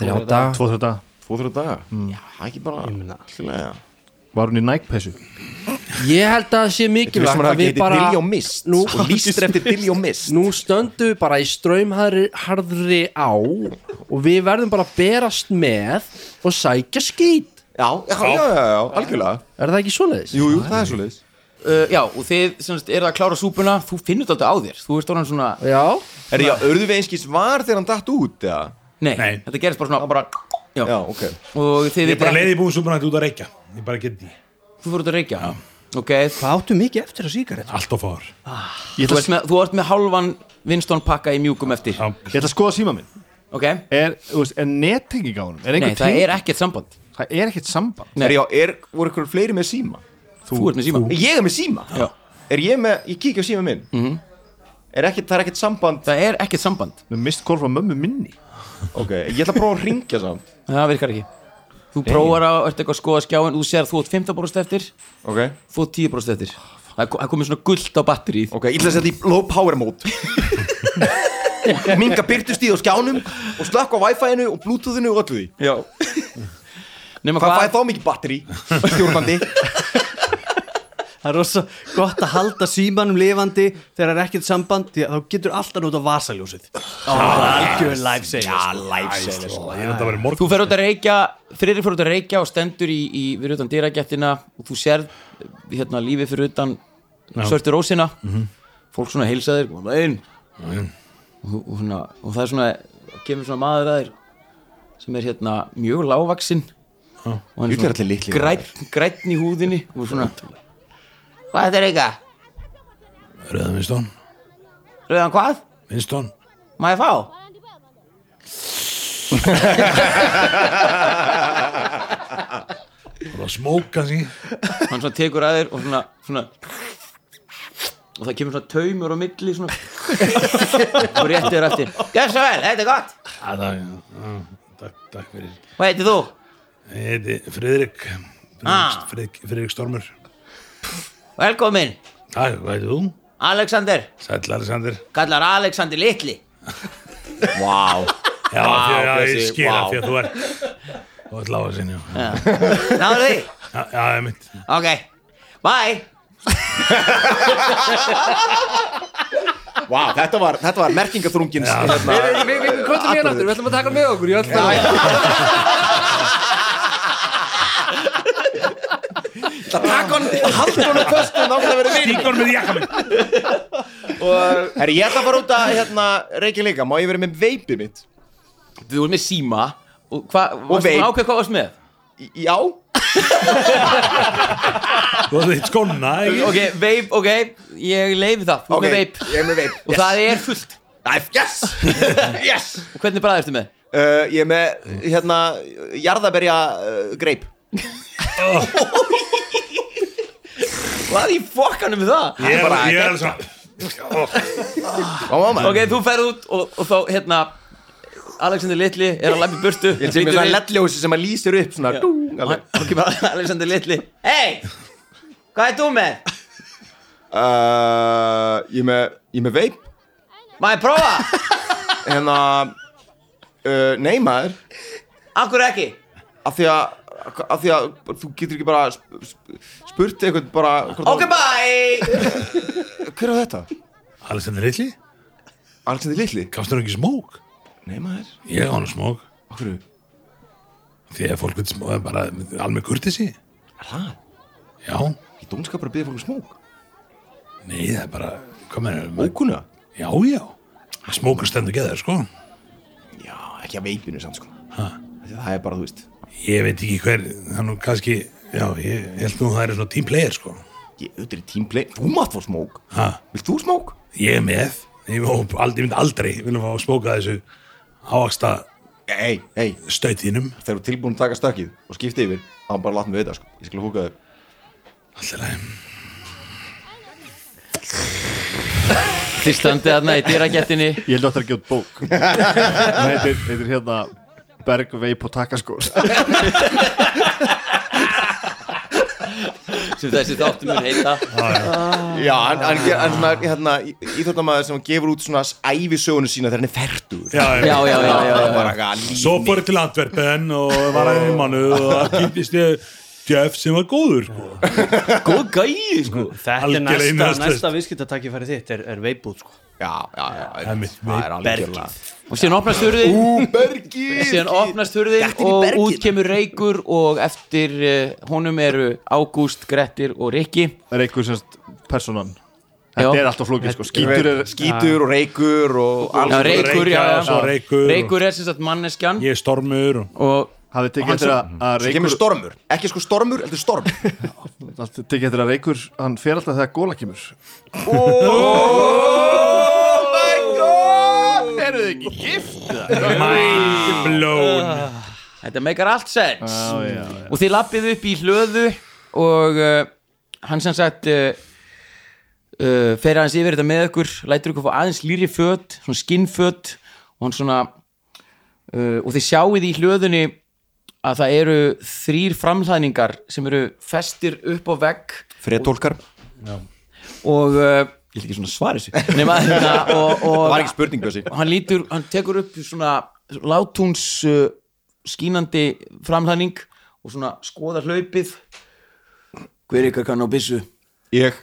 þrjá dag tvo þetta Tvo, þrjá daga? Já, ekki bara Ég meina- Allilega var hún í nækpessu ég held að það sé Ég veist mikilvægt maður að að við geti bara dilljó mist Nú- og lístir eftir dilljó mist nú stöndum við bara í ströymharðri harðri á og við verðum bara að berast með og sækja skýt Já, já, já, já, já, algjörlega er það ekki svoleiðis? Jú, jú, það er svo leiðis uh, já, og þið semst, eru að klára súpuna þú finnur þetta á þér, þú ert orðan svona já, Er já, örðu veinskis var þegar hann datt út, eða? nei, Nei. þetta gerist bara svona bara, já. Já, ok og þið Ég er bara vitið- leiði búin súpernætt út að reykja Ég bara get því þú fyrir út að reykja ok, hvað áttu mikið eftir að sígaret? Allt of fár þú ert, með, þú ert með hálfan Winston pakka í mjúkum eftir Já. ég ætla að skoða síma minn ok, er, þú veist, er nettenging á honum er nei, einhver það tenging? er ekkert samband það er ekkert samband Nei. Er já, er, voru ykkur fleiri með síma? þú, ert með síma Ég er með síma? Já. Er ég með, ég kíkja á síma minn? Mm Er ekkert, það er ekkert samband það er ekkert samband, við mist kól frá mömmu minni Ok, ég ætla að prófa að ringja samt það virkar ekki þú prófar að, ert eitthvað að skoða skjáin þú sér að þú ert 15% eftir Ok, þú ert 10% eftir það er ko- það er komið svona gullt á batterið ok, ég ætla að setja í low power mode Minga byrtustíð á skjánum og slökk á wifi-inu og bluetooth-inu og öllu því já nema Hvað fæði hvað, þá mikið batteri? Stjórnandi Það er rosa gott að halda símanum lifandi þegar það er ekkert samband því að þá getur alltaf nota vasaljósið Það er algjörn life saver Ég er þetta verið morgun þú fer út að reykja friðri fer út að reykja og stendur í, í fyrir utan dýragettina og þú sér hérna lífið fyrir utan svörtu rósina fólk svona heilsa þér koma inn og, og, svona, og það er svona kemur svona maður að þér sem er hérna mjög lágvaksinn og hann Jú, þeir allir litlir græn, græn í húðinni og svona hvað er þetta reyka? Röðan Vinstón Rauðan hvað? Vinstón Má ég fá? Það var smóka sí hann svona tekur að þér og svona, svona og það kemur svona taumur á milli svona og réttir þér eftir Gjörð svo vel, þetta er gott Það er Ah, Takk, takk fyrir Hvað heitir þú? Ég heiti Friðrik Ah. Friðrik- Friðrik Friðrik Stormur Velkomin, Hæ, hvað heitir þú? Alexander Sæll Alexander kallar Alexander Litli Vá Já, því að ég blessi, skil vá. að því að þú er Þú ert lága sinni Já, Náður því? já, ég mitt Ok, bye Vá, þetta var, þetta var merkingaþrungins hérna, Við- við við köllum hérna aftur, við ætlum að taka hann með okkur ég ætlum að Takk hann, haldur hann að föstu Náttúrulega verið vinir Tíkon með jakka minn og, Herri, ég ætla að fara út að hérna, reykja líka Má ég verið með veipið mitt? Þú erum með síma og hvað, Og varstu búin að veip. ákveð hvað varst með? Í- Já Þú ætlum hitt skonna ekki? Ok, veip, ok, ég leifi það, þú erum með veip Ég er með veip og það er fullt Æf, yes Yes og hvernig bræður ertu með? uh, Ég er með, hérna, jarðaberja uh, greip Hvað í fokkanum er það? Ég er bara- ég er alveg svona Vá, vá, maður Ok, þú ferð út og, og þá, hérna Alexander Litli er að lappa í burtu Ég sé með svona lettljósi sem að lýsir upp svona dú, Og alveg. hann- og kemur Alexander Litli Hei, hvað er þú með? uh, Ég er með, ég er með veip Má ég prófa? Hérna, uh, nei maður Akkur ekki Af því að af því að þú getur ekki bara sp- sp- spurt eitthvað bara Ok, bye! hver er þetta? Alexander Rilli, Alexander Lilli? gafst hann ekki smók Nei maður, ég á hann smók okkur því að fólk veit smók er bara alveg kurtisi er það? já, Ég dónska bara að byrja fólk um smók nei það er bara hvað meður, Ókunna? já já smókur stendur geður sko Já, ekki að veipinu samt sko Af því að Það er bara, þú veist ég veit ekki hver, það er nú kannski já, ég, ég held nú að það er svona team player sko Ég auðvitað er tímplay Þú mátt fór smók ha, Vilt þú smók? ég er með ég, og aldrei, ég myndi aldrei vilja fá að smóka þessu ávægsta Ei, ei stautinum Þegar þú ert tilbúin að taka stakkið og skipta yfir þá bara látt mig við sko Ég skal húka þér alltaf leið Þið standið þarna í dýragettinni Ég held að þetta er ekki út bók Nei, þetta er- þetta er hérna Berg, veip og sko. takaskór sem þessi þáttum mun heita Já, hann, hann, ger- hann svona, hérna, íþjóttamæður sem gefur út svona ævisögunu sína þegar hann er fertur já, já, Já, já, já, já, já. bara eitthvað líni Svo fór ég til Antwerpen og var aðeins mannu og það kynntist ég Jeff sem var góður sko. Góð gæði, sko Þetta er Algjörlega næsta, innihaldslaust. næsta viðskiptatakifæri þitt er, er veipbúð sko. Já, já, já Það er mitt Það er algjörlega Og síðan opnast hurðin Bergið Síðan opnast hurðin Þetta er í og bergið. út kemur Reykur og eftir eh, honum eru Ágúst, Grettir og Rikki Það er einhver semst personan Já. Þetta er alltaf flókið sko Skítur er Skítur og reykur og Já, alls- Reykur, Reykja já, og svo já Reykur og- Reykur er sem sagt manneskjan Ég er stormur og og hafði tekið eftir að að Svo kemur Reykur stormur, ekki sko stormur, heldur storm allt- tekið eftir að Reykur hann fer alltaf þegar góla kemur Mind blown Ah. þetta meikar allt sens Já, já, já. og þið lappið upp í hlöðu og uh, hann sem sagt uh, uh, fer aðeins yfir þetta með ykkur lætur ykkur fá aðeins lýri föt svona skinnföt og hann svona uh, og þið sjáið í hlöðunni að það eru þrýr framhlæðningar sem eru festir upp á vegg Fredólkar og uh, Ég vil ekki svona svara þessu nema þetta og, Það og var ekki spurning Bjössi og hann lítur, hann tekur upp svona látúns uh, skínandi framhæning og svona skoðar hlaupið hver ykkar kann á byssu Ég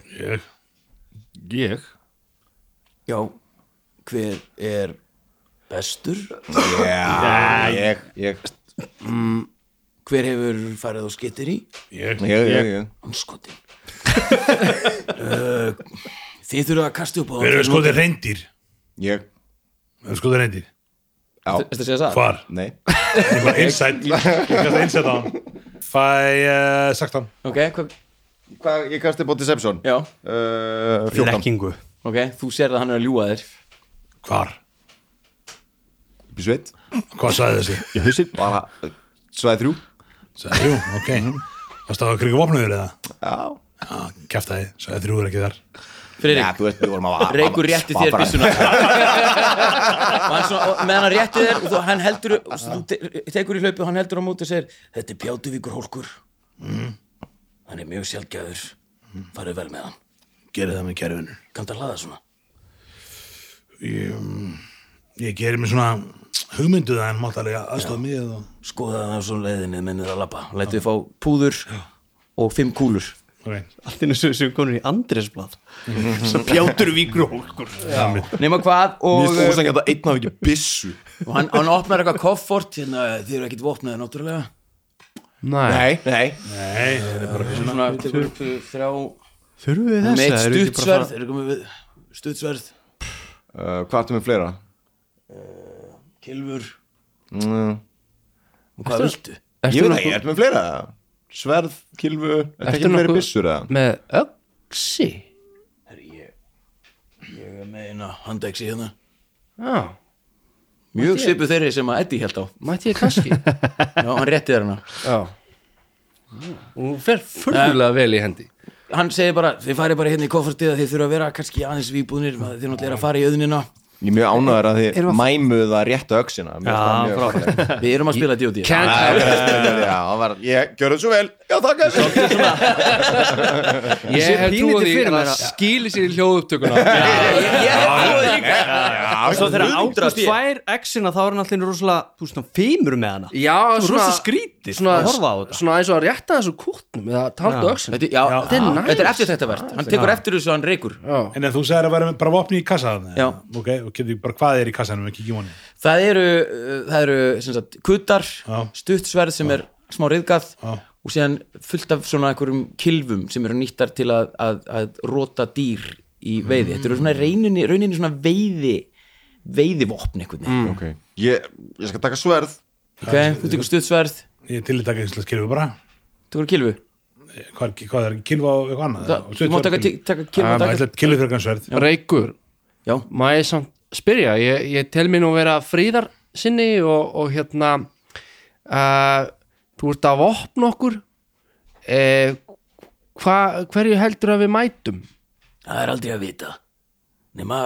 Ég? já, hver er bestur Já, ég Ég hver hefur farið á skyttir í Ég Ég, ég, ég skotin uh, Eh, þið þurfa að kasta upp á Við erum skoðið reyndir Við Ég erum skoðið reyndir Já, Þetta sé að það? Hvar? nei Ég var inside Ég kasta inside á hann Fæ uh, sagt hann Ok, hva, Hvað, ég kasti bótt Deception já, Uh, 14 Lekkingu ok, þú sér að hann er að ljúga þér Hvar? Bísveit Hvað sagði þessi? Ég hausin Bara uh, Svæði þrjú Sagði, jú, ok Varst það að kriga vopnuður eða? Já Já, kæftæði, sagði þrjú er ekki þar Já, Friðrik, þú veist, við vorum að Reykur rétti þér bara- byssuna Og hann svona, og meðan hann rétti þér og þú, hann heldur, og þú te- tekur í hlaupu og hann heldur á móti og segir þetta er Pjátuvíkur hólkur Mm. hann er mjög sjálfgæður farið vel með hann, Gerið það með kæruvinur kanntu að hlaða svona Ég, mm, ég gerir mér svona hugmynduð en mátt alveg aðstofa mig og... skoða það á svona leiðinni mennið að labba lætið fá púður og fimm kúlur okay. Allt innu sem, sem konur í Andresblad nema hvað Mér og, eh, finnst ósann að einn hafi ekki byssu og hann, hann opnar eitthvað koffort hérna, þið eru ekkit vopnaði náttúrulega Nei, nei Nei, það er bara svona svona, tekur upp uh, þrjá Þurfum við með þessa eitt eru ekki bara stuttsverð þeir eru komið við stuttsverð, Uh, Hvað ertu með fleira? kilfur Mm, og hvað viltu? Ég Ertu veit ekki, nokkuð ertu með fleira? Sverð, kilfu Ertu Ertu ekki með fleiri nokkuð- byssur eða? með öksi? Herri, ég, ég er með eina handæksi hérna Já, Mjög svipu þeirri sem að Eddi held á mætti ég kannski Já, hann rétti þér hana Já Og Hún fer furðulega vel í hendi Hann segir bara, þið farið bara hérna í koffertið að þið þurfa að vera kannski aðeins víbúðnir þið náttúrulega er að fara í öðnina Ég er mjög ánæður að þið mæmuðu það réttu öxina Já, frábært Ah, Við erum að spila D.O.D. Can't Já, það var, ég, gjörðu svo vel Já, þakka þér Ég sé hef pínlítið trúið því fyrir að mér það að- skýli sér í hljóðupptökuna og svo þegar Ágúst fær exina þá er hann alltaf rosalega, þú veist, hann feimur með hana Já, Svo svona rosa skrítið svona, að horfa á þetta svona eins og að rétta þessu kútnum eða taldu Já. öxin Þetta, já, Þetta er næs. þetta er eftir þetta verð Hann tekur eftir þessu að hann reykur Já, En ef þú segir að vera með bara vopni í kassa þarna, Já. ok, og getur bara hvað er í kassanum ekki í honum Það eru, uh, það eru sem sagt, kutar, Já. stuttsverð sem er smá reyðgað Já. og síðan fullt af svona einhverjum kilfum sem eru nýttar til að, að, að róta dýr í veiði Þetta eru svona reyninni, rauninni svona veiði veiðivopn einhvern veginn Ok, ég, ég skal taka sverð Ok, þú tekur stuttsverð, Ég er til í taka eins og skilfu bara tekur kilfu Hvað er, hvað er kilfa og eitthvað annað? Það- Þú má taka, ti- taka kilfu Ah, og taka Kilfa fyrir kannsverð Reykur, Já, má ég samt spyrja ég, ég tel mér nú vera fríðar sinni og, og hérna uh, þú ert að vopna okkur eh, hva, hverju heldur að við mætum það er aldrei að vita nema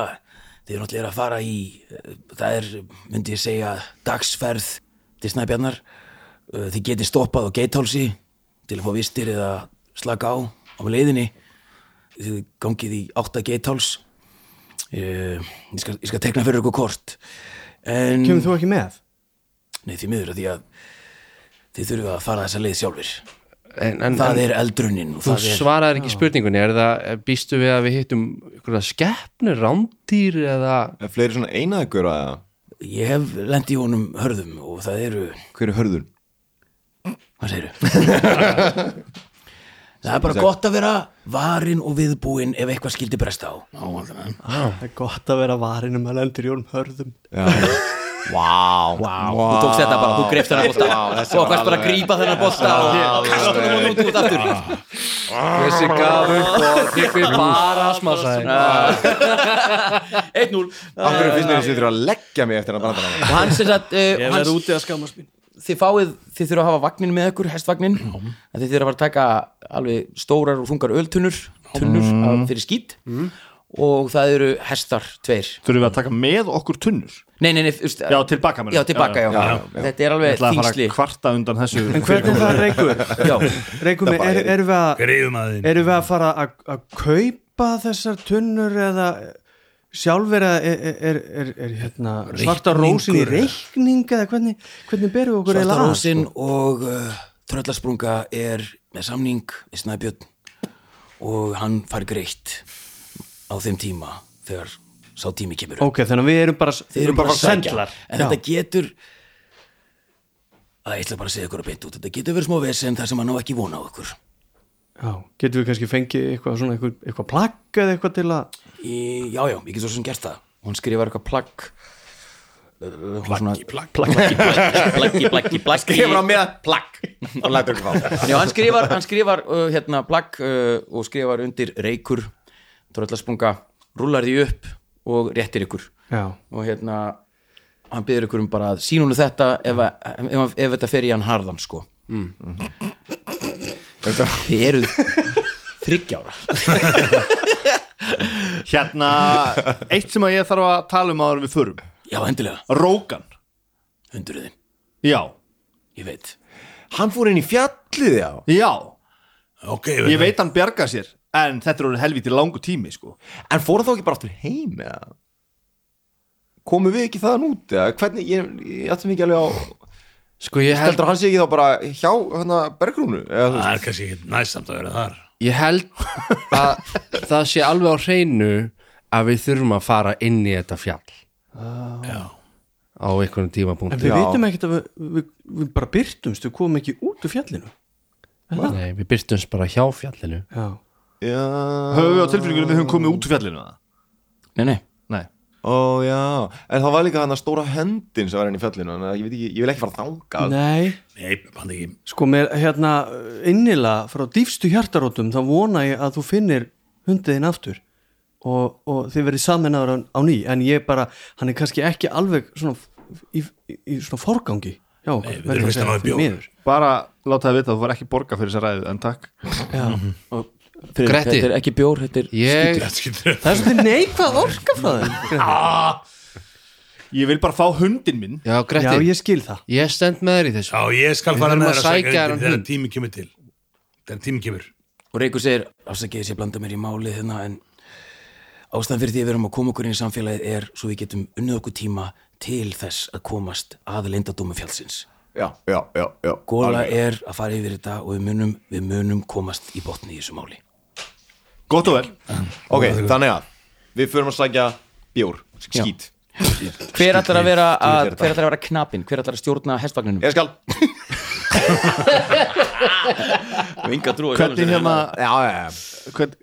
þið eru náttúrulega að fara í eh, það er, myndi ég segja dagsferð til snæbjarnar Eh, þið getið stoppað á geithálsi til að fá vistir eða slaka á á leiðinni þið gangið í átta geitháls ég, ég, skal, ég skal tekna fyrir ykkur kort en kemur þú ekki með? nei, því miður að því að þið þurfum að fara þessa leið sjálfur en, en, það en er eldrunin og þú það er svaraðir ekki spurningunni er það, er- býstu við að við hittum ykkur skeppnir, rándýr eða Er fleiri svona einaðgur að ég hef lent í honum hörðum og það eru Hver er hörður? Hvað segirðu? það er bara gott að vera varin og viðbúin ef eitthvað skildi bresta á. það er gott að vera varin um að lendur í honum hörðum Vá Vá Þú tókst þetta bara, þú greifst þennan bolta Vá, og þessi var varst bara að alveg- grípa þennan bolta og kasta honum á núti út aftur. þessi gaf upp og þykvi bara smásaði 1-0. Af hverju finnst þér þessi þurfa að leggja mig eftir hann brandara Og hans er satt, uh, ég hans, verði úti að skamast mín þið fáið, þið þurfa að hafa vagnin með ykkur, hestvagnin. En þið þurfa að fara að taka alveg stórar og þungar öltunnur, tunnur Mm. af, fyrir skýt. Og það eru hestar tveir. Þurfum við að taka með okkur tunnur Nei, nei, nei, úst, Já, tilbaka meina. Já, tilbaka, Já, já, já, Þetta er Ég alveg ætla að fara þingsli að kvarta undan þessu en hvernig er það reykur? Já, reykur með, er, erum við að Greiðum að þín erum við að fara að, að kaupa þessar tunnur eða sjálfur eða er, er, er, er hérna svarta rósin í reikning eða hvernig, hvernig berum við okkur eiginlega að? Svartarósin og uh, Tröllasprunga er með samning við Snæbjörn og hann fær greitt á þeim tíma þegar sá tími kemur ok, þannig að við erum bara Þeir eru bara að sækja. sendlar En þetta getur að ég ætla bara að segja ykkur að beint út þetta getur verið smá vesen þar sem hann á ekki vona á ykkur já, getum við kannski fengið eitthvað svona eitthvað, eitthvað plagg eða eitthvað til að í, Já, já, ég get svo sem gert það hún skrifar eitthvað plagg Uh, Plaggi, plaggi, plaggi, plaggi, plaggi, plaggi Hefur hann með plakk og lætur ykkur fá Já, hann skrifar, hann skrifar uh, hérna plagg uh, og skrifar undir reykur, tröllarspunga rúlar því upp og réttir ykkur já, og hérna hann byrður ykkur um bara að sína hún þetta ef, að, ef, að- ef þetta fer í hann harðan sko mm. Þið eruð þryggjára Hérna, eitt sem að ég þarf að tala um áður en við förum Já, endilega, Rókan, hundruðin, já, ég veit Hann fór inn í fjallið já já Ok, Ég veit hann bjarga sér En þetta eru helviti langu tími sko En fór hann þá ekki bara aftur heim eða? Komum við ekki þaðan út eða? Hvernig, ég, ég ætti mikið alveg á sko ég held Heldur að hann sé ekki þá bara hjá hana bergrúnu eða, þú veist? Það er kannski ekki næst samt að vera þar ég held að það sé alveg á hreinu að við þurfum að fara inn í þetta fjall Já á einhvern en tímapunkti við Já. vitum ekkert að við, við, við bara byrtumst, við komum ekki út úr fjallinu Nei, við byrtumst bara hjá fjallinu já, Já, Höfum við á tilfinningunum við höfum komið út úr fjallinu eða? Nei, nei, Nei ó já En það var líka hann að stóra hendin sem var henni í fjallinu Þannig að ég veit ekki, ég vil ekki fara þangað nei Nei, bandi ekki Sko með hérna innila frá dýfstu hjartarótum þá vona ég að þú finnir hundiðin aftur og, og þið verið saminnaður á, á ný en ég bara, hann er kannski ekki alveg svona f- í, í, í svona forgangi Já, Nei, við erum veist að ná í bjór. Bara láta það vita að þú var ekki borga fyrir þessa ræðu En takk Friðrik, Gretti. þetta er ekki bjór, þetta er Ég, Það er svona neikvað orka frá þeim Ég vil bara fá hundin minn já, Já, Gretti, ég... ég skil það stend með þér í þessu Já, ég skal Við fara þurfum með að þér að sækja sækja undir hann þegar hund. tími kemur til þegar tími kemur og Reykjavík segir afsakið þess að ég blanda mér í málið hérna en ástæðan fyrir því að við erum að koma okkur inn í samfélagið er svo við getum unnið okkur tíma til þess að komast að lindadómi fjallsins já, já, já, já Góla alveg. er að fara yfir þetta og við munum, við munum komast í botni í þessu máli Gott og vel Mm. Ok, þannig að við förum að sækja bjór, skít Hver ætlar að vera, að, Skýt, hver ætlar að vera knapin? Hver ætlar að stjórna hestvagninum? Ég skal Vinga trú Hvernig hérna Já, já, já hvern,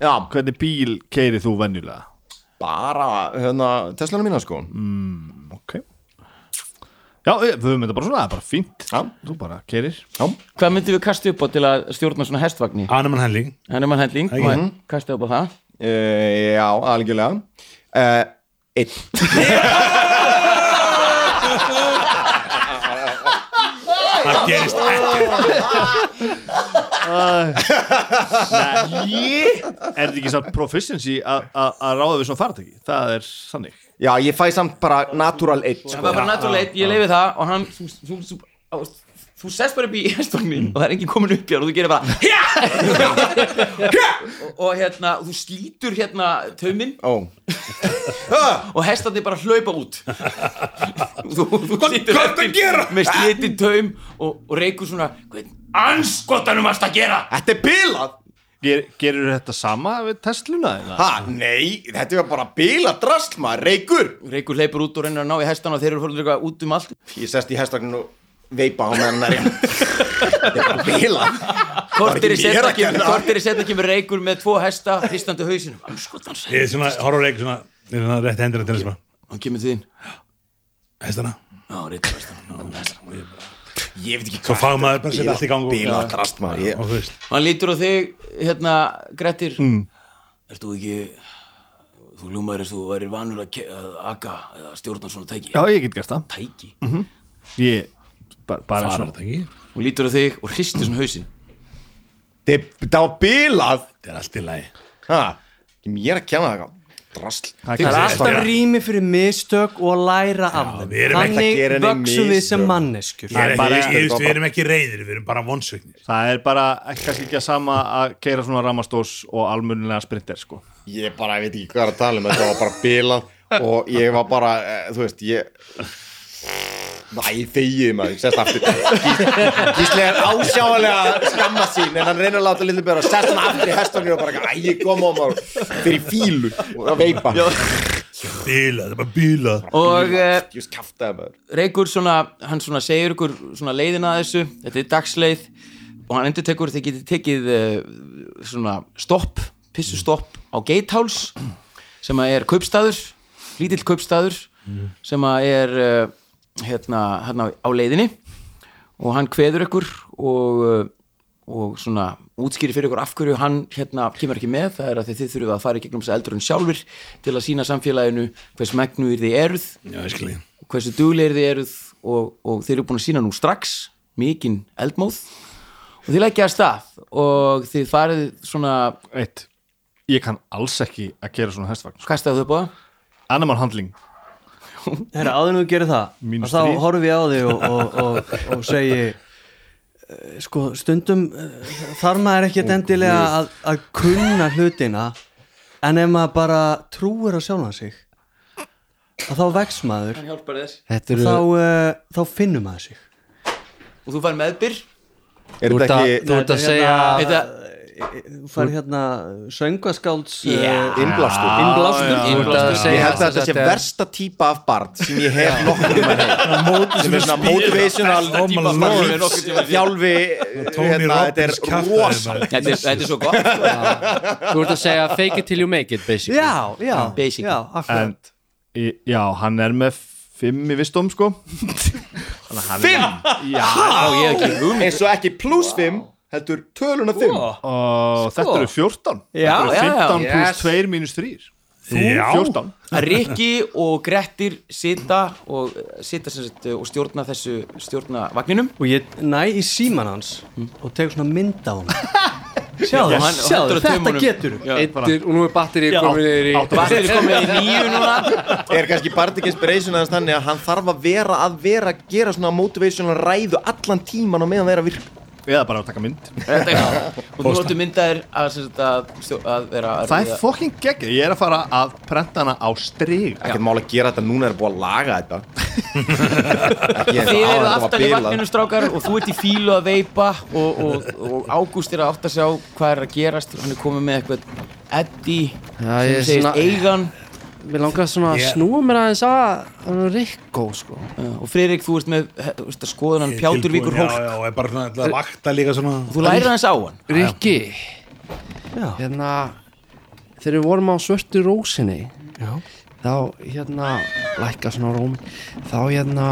Já, Hvernig bíl keiri þú venjulega? bara hérna, Teslana mína sko Mm, Ok Já, eh, við höfum þetta bara svona, það er bara fínt Já. Þú bara keirir Hvað myndum við kasta upp á til að stjórna svona hestvagni? Animal Handling Hann er mann hendling, maður kasta upp á það Uh, já, algjörlega uh, Eitt það gerist ekki Ég er þetta ekki samt proficiency að að- að ráða við svona fartæki Það er sannig Já, ég fæ samt bara natural eitt Það sko. var bara natúrleit, ég leiði það og hann, þú, þú, þú, á, þú sest bara upp í hestvagnin og það er enginn komin upp hjá þér og þú gerir bara "Hja!" og, og hérna, þú slítur hérna tauminn Ó, og hestandi bara hlaupa út þú, þú hvað er það að gera með slítið taum og, og reykur svona hvern anskotanum varst að gera Þetta er bilað Ger, Gerir þetta sama við Tesluna? eða? Ha, nei, þetta er bara bilað drast maður, reykur reykur hleypur út og reynir að ná í hestan og þeir eru fórlega eitthvað út um allt Ég sest í hestaknin og veipa á meðan hann er Þetta er bara bilað kortir í ekki mér setna að kemur, kenna. korter í seinna kemur reykur með tvo hesta hristandi á hausinum anskotans ég er svona, horfur ekki svona, ég er svona rétt hendina til þess bara, hann kemur til þín hestana Já, reykur hestan Ég veit ekki svo fagum maður bara að setja allt í gang og- Bilað drast maður ég, og þú veist, hann lítur á þig, hérna, Grettir mm. ert þú ekki þú ljúmaður eins og þú værir vanur að, ke- að aka eða stjórna svona tæki Já, ég get gert það tæki Ég, bara, bara bara svona þetta ekki hún lítur á þig og hristir svona hausin Þetta er- þetta var bilað þetta er allt í lagi Ha, ég er að kenna það eitthvað Drasl Það Það er er alltaf rými fyrir mistök og að læra af þeim við erum ekki að Þannig gera nein vöksum við sem mistök. manneskjur Ég er bara- ekki- ég- ég- við erum ekki reyðir, við erum bara vonsögnir Það er bara ekki- kannski ekki að sama að keira svona ramastós og almunlega sprinter sko. Ég bara veit ekki hvað er að tala um Þetta var bara bilað Og ég var bara, eh, þú veist, ég Næ, þegið maður, sest aftur Gísli- Gísli er ásjálega að skamma sín en hann reynir að láta lítið bera sest hann aftur í hestunni og bara, æ, ég kom á maður fyrir fílu og að veipa bíla, þetta er bara bíla og uh, Ég skaftaði maður Reykur svona, hann svona segir ykkur svona leiðina að þessu, þetta er dagsleið og hann endur tekur þið getið tekið uh, svona stopp pissustopp á Geitháls sem að er kaupstaður lítill kaupstaður sem að er uh, hérna, hérna á leiðinni og hann kveður ykkur og, uh, og svona útskýri fyrir ykkur af hverju hann hérna kemur ekki með, það er að þið, þið þurfum að fara í gegnum þess að eldurinn sjálfur til að sína samfélaginu hvers megnu þið eruð já, ég skil ég hversu duglegir þið eruð og, og þeir eru búin að sína nú strax mikinn eldmóð og þið leggja að stað og þið farið svona, Eitt, ég kann alls ekki að keira svona hestvagn sko. hvað stæðu þau búið? Animal handling, Herra, áður nú gerir það Mínus og þá þrír. horfi ég á þig og, og, og, og segi eh, sko stundum eh, þarf maður ekki endilega að, að kunna hlutina en ef maður bara trúir á sjálfan sig að þá vex maður Hann hjálpar þess Þetta eru þá, uh, þá finnum maður sig og þú farið meðbyr Er Þú ert þetta að- ekki þú ert að segja Þetta, þú fær hérna eh, söngaskálds Yeah. innblástur? innblástur Þú ert að Ég segja held að þetta sé versta típa af barn sem ég hef nokkur um sem er svona motivational Oh my svona lord. lífs- þjálfi Tony hérna, þetta er Robbins kjaftaði rosa maður. þetta, er- þetta er svo gott sko. Þú ert að segja fake it till you make it basically já, já, Basically. já, akkurat en eh, í- já, hann er með fimm í vistum sko Fimm? Já, Á, ég hef ekki hugmynd. eins og ekki plus 5 heldur töluna 5 og þetta eru 14 Sko. Já, Þetta eru já, 15 já. pluss 2 mínus 3 Já. 14 Að Rikki og Grettir sita og, sita sem sagt, og stjórna þessu stjórna vagninum og ég næ í síman hans og tegur svona mynd á hann sjáðu, Og hann- og sjáðu, hendur á þetta taumunum. getur Já. Eittir og nú er batterið komin niður í Vatnið er komið í nýju núna er kannski Bartik Inspiration aðeins þannig að hann þarf að vera að vera að gera svona motivational ræðu allan tíman og meðan vera virk eða bara að taka mynd Þetta, já. og þú notu myndaðir að, sem sagt, að, stjó- að vera að það ríða- er fucking gegg, ég er að fara að prenta hana á strig Ekkert mál að gera þetta, núna er búið að laga þetta Ekki Þið eru eins og áðan þetta var aftan í bilað. vagninu strákar og þú ert í fílu að veipa og, og, og Ágúst er að átt að sjá hvað er að gerast hann er komið með eitthvað Eddie Já, ég sem er segist svona- eigan Mér langar svona að Ég- snúa mér aðeins að honum Rikko sko uh, og Friðrik þú ert með he- þú veist að skoða hann Pjáturvíkur Tilbúin, Hólk Já, já, og er bara svona ætla að vakta líka svona þú lærir hans á hann Rikki, Já. hérna þegar við vorum á svörtu rósinni Já. þá hérna lækka svona róm þá hérna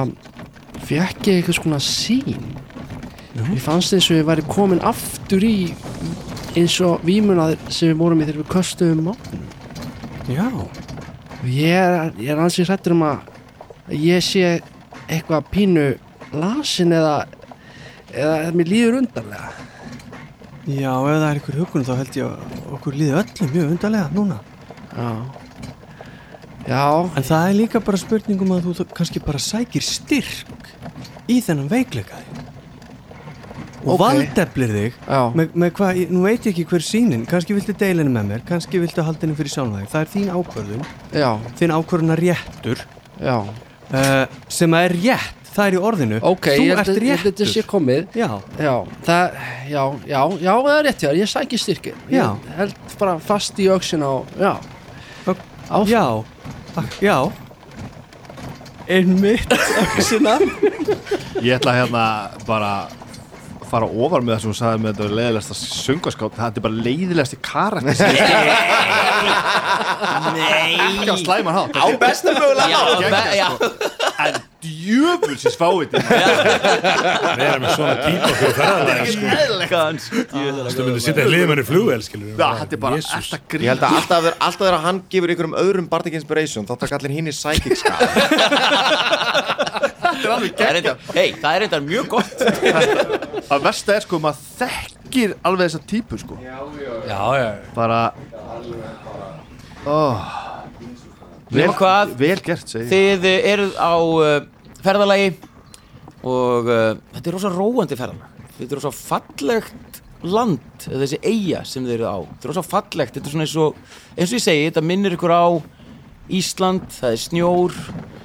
fekk ég eitthvað svona sín ég fannst eins og ég væri komin aftur í eins og vímunaður sem við vorum í þegar við köstuðum á Já, og ég er, ég er ansið hrættur um að að ég sé eitthvað pínu lasin eða eða að mér líður undarlega já, ef það er einhver hugun þá held ég að okkur líði öllum mjög undarlega núna já já, En það er líka bara spurningum að þú þó- kannski bara sækir styrk í þennan veikleika þig og Ok. valdeflir þig Já. með, með hvað, ég- nú veit ég ekki hver sínin kannski viltu deilinu með mér, kannski viltu halda henni fyrir sjálf þig, það er þín ákvörðun já, þín ákvörðunar réttur já uh, sem að er rétt, það er í orðinu ok, þú ég ert held ég held réttur þetta sé komið Já, já, það, já, já, já það er rétt hjá, þér, ég sæki styrki Já. ég held bara fast í auksin á já, Ok. áfram já, ak- já einmitt öxina ég ætla hérna bara að fara ofar með það sem þú sagði með þetta er leiðilegasta söngaskátt þetta er bara leiðilegasti karakter sem ég Nei ekki á slæman hátt sko. Á besta mögulega Já, hátt. það- já, en djöfulsins fáið vera með svona típa fyrir ferðalega sko. kannski Þú myndir sitja í liðmenni flugvel, skilur þetta er bara alltaf Ég grín held að alltaf þegar- alltaf þegar hann gefur einhverjum öðrum Bardic Inspiration þá takk allir hinn í Psychic Scar Það er reyndar- Hey, það er reyndar mjög gott að versta er sko maður þekkir alveg þessa típu sko já, já, bara oh, Nema hvað vel gert segi ég Þið eh, eruð á uh, ferðalagi og uh, þetta er rosa róandi ferðalag. Þetta er rosa fallegt land, eða þessi eiga sem þið eruð á. Þetta er rosa fallegt, þetta er svona eins og, eins og ég segi, þetta minnir ykkur á Ísland, það er snjór,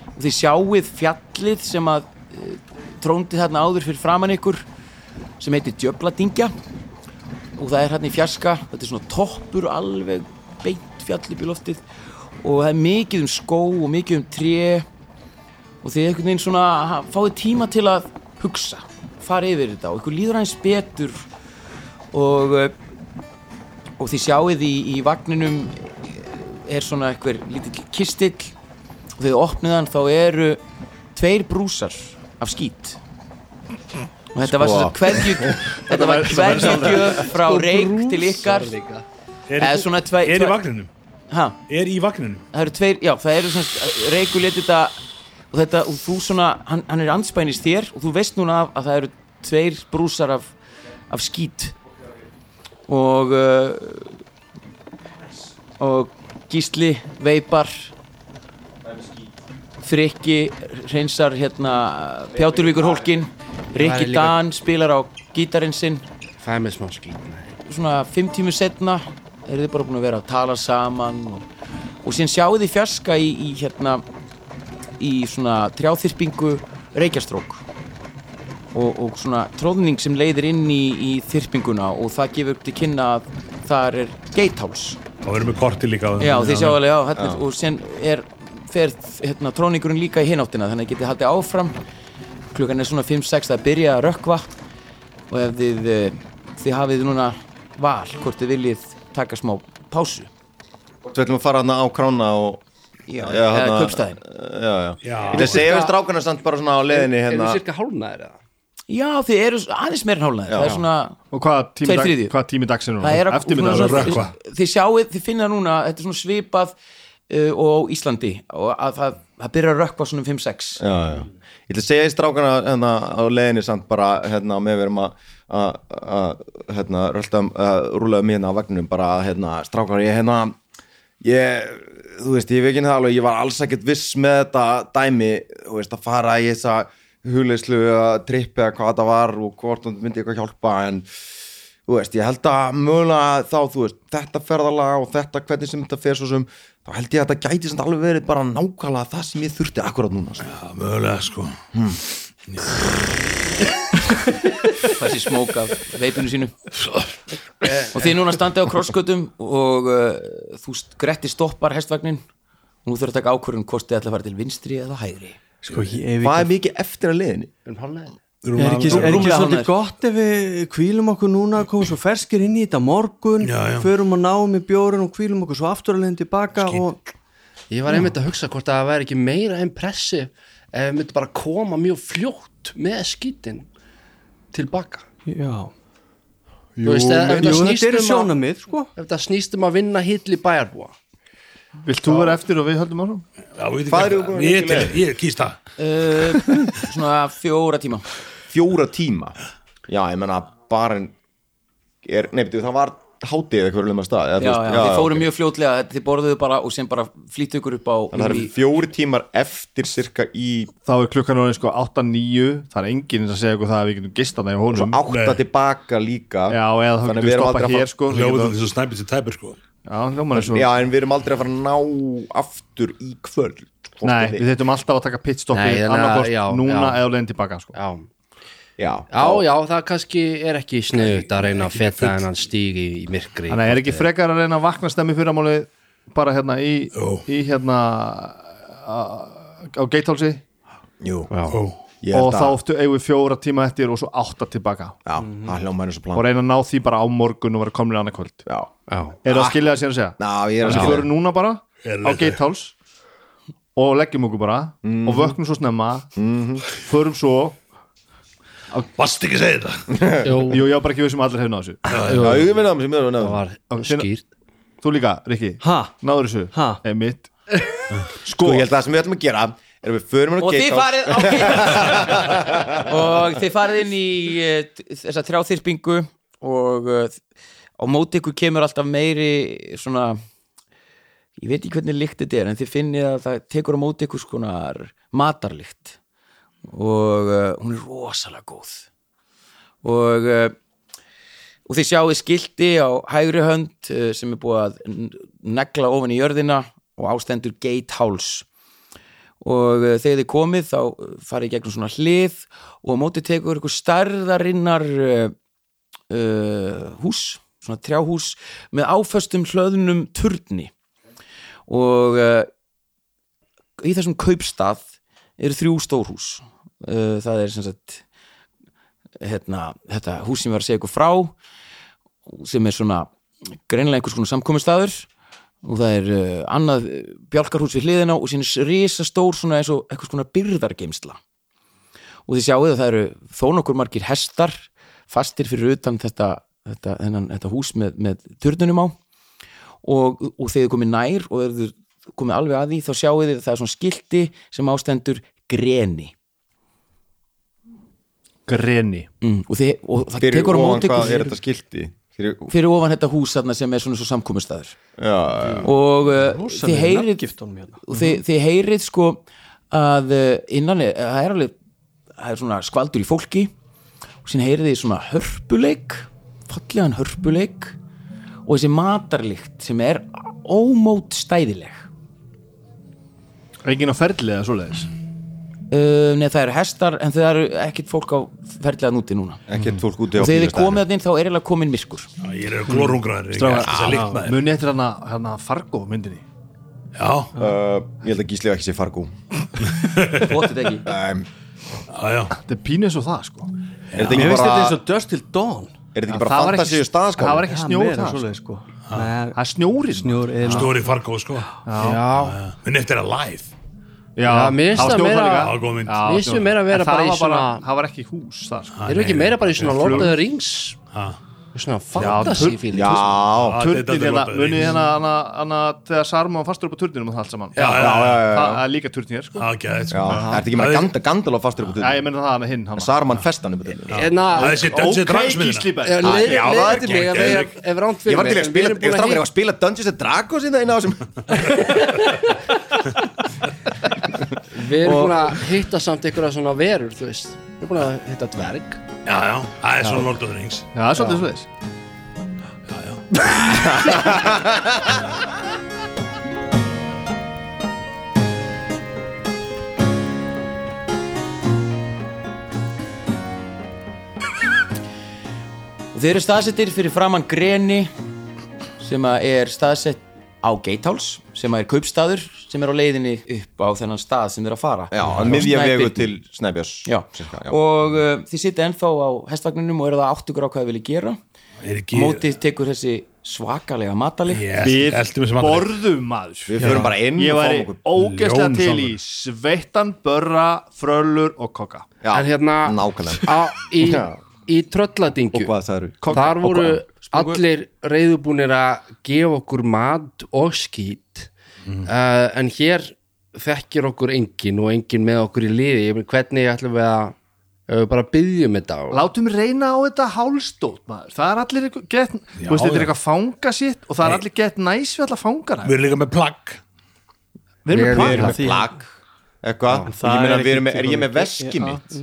og þið sjáið fjallið sem að uh, tróndi þarna áður fyrir framann ykkur sem heitir Djöbladingja og það er hérna í fjarska þetta er svona toppur alveg beint fjall upp í loftið og það er mikið um skó og mikið um tré og þið einhvern veginn svona ha- fáið tíma til að hugsa fara yfir þetta og ykkur líður aðeins betur og eh, og þið sjáið í, í vagninum eh, er svona einhver lítill kistill og þegar þið opnið hann þá eru tveir brúsar af skít og þetta var svona hverju Sko. þetta var Sko, hverju frá reik til ykkar Er, eða svona tvei, er í vagninum ha, Er í vagninum það eru tveir, já það eru svona reikur leti þetta og þetta og þú svona, hann, hann er anspænis þér og þú veist núna af, að það eru tveir brúsar af, af skít og uh, og gísli veipar Frikki reynsar hérna Pjáturvíkur hólkin Rikki líka- Dan spilar á gítarinn sinn það er mér smá skýt svona fimm tímur setna eru þið bara búin að vera að tala saman og, og síðan sjáu þið fjarska í, í hérna í svona trjáþyrpingu reykjastrók og, og svona tróðning sem leiðir inn í, í þyrpinguna og það gefur til kynna að þar er geithás Þá erum við korti líka á þeim. já þið sjáu alveg já, hérna, og síðan er fer hérna, tróningurinn líka í hináttina þannig að þið getið haldið áfram klukkan er svona 5-6 það byrja að rökkva og ef þið, eh, þið hafið núna val hvort þið viljið taka smá pásu Þú ætlum að fara hann á krána og já, Já, eða hérna- kaupstæðin Já, já Já. Ég ætla að segja við strákana samt bara svona á leiðinni er hérna það cirka hálfnaðir eða? já þið eru s- aðeins meira en hálfnaði það er svona og hvað tími, Tveir dag, þriðju. hvað tími dags er núna? það er að eftirmyndag svona- rökkva. þið sjáuð, þið finna núna þetta er svona svipað uh, og á Íslandi og að það, það byrja að rökkva svona um 5-6 Já, já Ég ætla að segja við strákana hérna á leiðinni samt bara hérna með verum að að- að hérna röltum rúlaðum hérna á vagnum bara að, hérna strákana ég hérna ég, þú veist, ég veikinn það alveg ég var alls ekkert viss með þetta dæmi þú veist, að fara í þessa hugleyslu að trippi eða hvað það var og hvort hann myndi eitthvað hjálpa en þú veist, ég held að mögulega þá, þú veist, þetta ferðalag og þetta hvernig sem þetta fer svo sem þá held ég að þetta gæti samt alveg verið bara nákvæmlega það sem ég þurfti akkurat núna sko. Já, mögulega sko þessi smók af veipinu sínu og þið núna standið á krosskötum og uh, þú st- Gretti stoppar hestvagnin og nú þurfur að taka ákvörðun hvort þið ætla að fara til vinstri eða hægri Sko, ég, Hvað er mikið eftir að liðinni? Um Rúm er ekki, alveg- er ekki Rúmlega svolítið ánægður. gott ef við kvílum okkur núna komum svo ferskir inn í þetta morgun Já, já. förum og náum í bjórun og kvílum okkur svo aftur að leiðin tilbaka og Ég var einmitt að hugsa hvort að það væri ekki meira impressiv ef við myndum bara koma mjög fljótt með skítin tilbaka. já, Jú, veist, ef, ef það jú, þetta snýst eru um að, sjónamið sko. ef það snýst um að vinna hill í bæjarbúa. Vilt þú vera eftir og við höldum áfram? Já, veit Hvað eru ekki hvað- búin að Ég lengi til- Ég kýst það uh, svona fjóra tíma Fjóra tíma Já, ég menna, barinn er, nei, betur, það var hátið eða hverju lögum að stað já, eða, þú já, veist, þið fóru ok. mjög fljótlega þið borðuðu bara og sem bara flýttu ykkur upp á Þannig að það upp eru fjóri tímar eftir cirka í Þá er klukkan orðin sko 8-9 Það er enginn sem segja ykkur það að við getum gistana í svo honum átta Nei. tilbaka líka Mm, Já, eða þá getum Þannig við við erum aldrei stoppa að fara- hér sko Ljóðum þess að snæpið til tæpur sko Já, hljóman er svo Já, en við erum aldrei að fara að ná aftur í kvöld Hvort Nei, er við þettum alltaf að taka Nei, pitstoppi þannig að- já, annarkort núna já. eða leiðin tilbaka sko. Já. Já, já, já, það kannski er ekki sniðut að reyna að feta hennan stíg í, í myrkri. Þannig að er ekki frekar að reyna að vakna stemmi fyrramáli bara hérna í, Jú. í hérna a- á geithálsi Jú, Ó, ég og held þá að oftu eigum við fjóra tíma eftir og svo átta tilbaka Já, það hljóma henni svo og plan reyna að ná því bara á morgun og vera komin í annað kvöld Já, Já. Er það að skilja það síðan að segja? Ná, ég Þannig er að að skilja við förum núna bara Ah. Er á þetta- geitháls og leggjum okkur bara Mhm. og vöknum svo snemma förum svo Vast Mhm. ekki segið þetta Jú, Jú, ég var bara ekki við sem allir hefur náðu þessu Já, ég vil það sem ég er að það nefna var síðan- skýrt. Þú líka, Rikki, ha, náður þessu Ha? Einmitt Sko, ég held að það sem við ætlum að gera er að við förum henni og að þið geita farið okay. og þið farið inn í eh, t- þessa trjáþyrpingu og eh, á móti ykkur kemur alltaf meiri svona ég veit ekki hvernig lykt þetta er en þið finnið að það tekur á móti ykkur skonar matarlykt og uh, hún er rosalega góð og uh, og þið sjáu skilti á hægri hönd uh, sem er búið að n- negla ofan í jörðina og ástendur Gatehouse og eh, þegar þið komið þá eh, farið í gegnum svona hlið og á móti tekur ykkur stærðarinnar uh, uh, hús svona trjáhús með áföstum hlöðnum turni og uh, í þessum kaupstað eru þrjú stórhús uh, það er sem sagt hérna, þetta hús sem ég var að segja ykkur frá sem er svona greinlega einhvers konar samkominnstaður og það er uh, annað eh, bjálkarhús við hliðina og síðan er risastór svona eins og einhvers konar byrðargeimsla og þið sjáuð að það eru þó nokkur margir hestar fastir fyrir utan þetta, þetta, hennan, þetta hús með, með turnunum á og, og þegar þið komið nær og þegar þið komið alveg að því þá sjáuð þið að það er svona skilti sem ástendur greni Greni mm, og, þið, og það Fyrir tekur á ofan móti hvað er ykkur þetta skilti Fyrir, fyrir ofan þetta hús þarna sem er svona svo samkominnstaður já, já, og uh, þið heyrið giftunum hérna og þið, þið heyrið sko að eh, innan er, það er alveg það er svona skvaldur í fólki og sín heyrið þið svona hörpuleik fallegan hörpuleik og þessi matarlikt sem er ómót stæðileg Engin á ferli eða svoleiðis uh, neða það eru hestar en það eru ekkit fólk á ferðlega núti núna ekkert fólk úti á og þegar þið bílastæðinu. komið að þinn þá er eiginlega komin myrkur Já, Ég er glórungraður Ég er þess að líkt maður Muni eftir hana, hana Fargo myndinni Já, Uh, Ég held að gíslega ekki sé fargú Þvotið ekki. um, já, já Þetta er pínu eins og það sko Er þetta ekki Mér finnst þetta eins bara og Dust Till Dawn Er þetta Já, ekki bara sko. það var ekki- fantasíu staðskál? það var ekki snjór það það, svoleið, sko. Nei, Það er snjórið Snjór eða Stóri Fargo sko Já, Minn eftir að live Já, Já, mér finnst það var það snjór meira- þar líka. Það var góð mynd. Já, Mér finnst snjór. við meira að vera En það bara í var svona- Það var ekki hús það sko erum við ekki meira bara í svona Flug- Lord of the Rings Ha. svona fantasy tur- feeling Já, Já, þetta Turnin er hérna, lotað í munið ís. hérna hana- hana þegar Saruman var fastur upp á turninum og það allt saman Já, já, já, já. Það er líka turnin hér sko Það er gæðið já sko Er þetta ekki með Gandal- Gandalf fastur upp á Já, ég tunnum? menna það hana hinn hana. Saruman festan upp á tunnum Enna, Það er sér Dungeons and Dragons myndina Gísliberg Já, það er Hérna, leiðið mig að geggjöð. vera ef ránt Ég fyrir var til að spila, ég strafnir að hérna spila Dungeons and Dragons í það einu á sem Við Við erum erum búin að hitta samt einhverja svona verur, þú veist Við erum búin að hitta dverg já, já, það er svona Lord of the Rings Já, það er svolítið svo þess Og þeir eru staðsettir fyrir framann Greni sem að er staðsett á Geitháls sem að er kaupstaður sem er á leiðinni upp á þennan stað sem þeir eru að fara Já, Og að miðja Snæbjörn- vegu til Snæbjörns Já. Sirka, já. og uh, þið sitja ennþá á hestvagninum og eru það áttugur á hvað þið vilja gera er ekki mótið tekur þessi svakalega matali Ég eldi mig sem að borðum maður Við förum bara inn Ég og væri fáum okkur ógeðslega Ljón til í sjálfur. sveittan, börra, frölur og kokka já, En hérna, Nákvæmlega á, í, Já. í trölladingju Og hvað það eru Þar voru allir reyðubúnir að gefa okkur mat og skýt Mhm. uh, en hér þekkir okkur engin og engin með okkur í liði Ég meina, hvernig ætlum við að ef við bara byggjum þetta og- Látum reyna á þetta hálstótt maður Það er allir eitthvað gett Þú veist, já. þetta er eitthvað fanga sitt og það er allir gett næs við alla fangana Við erum líka með plagg Við erum Við- hérna. með við plaka Við erum með plagg Eitthvað það Ég meina, er við erum ekki með, er ég með tímabili. veski Já. mitt?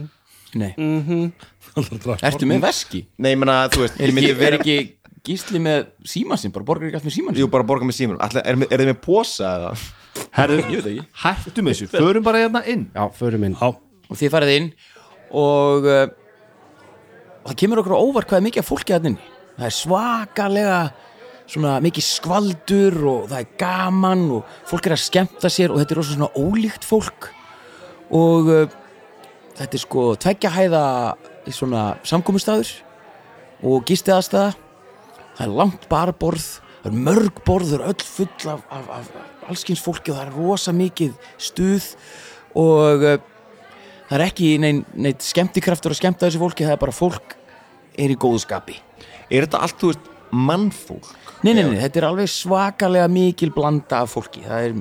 Nei, Ertu ertu með veski? Nei, ég meina, þú veist, Er ég ekki, myndi er vera ekki gísli með síma sinn, bara borgar ekki allt með síma Jú, sinn? bara borga með símur Er er þið með posa eða? Ég veit það ekki Hættum þessu, förum bara hérna inn Já, förum inn og þið farið inn og uh, það kemur okkur á óvart hvað er mikið af fólki hann inn það er svakalega svona mikið skvaldur og það er gaman og fólk er að skemmta sér og þetta er rosa svona ólíkt fólk og uh, þetta er sko tveggja hæða svona samkomustadur og gistiðastaða það er langt barborð það er mörg borð, það er öll full af, af, af allskins fólki og það er rosa mikið stuð og uh, það er ekki neinn neinn skemmtikraftur að skemmta þessu fólki það er bara fólk er í góðu skapi Er þetta allt, þú veist, mannfólk? nei, nei, nei, þetta er alveg svakalega mikil blanda af fólki það er,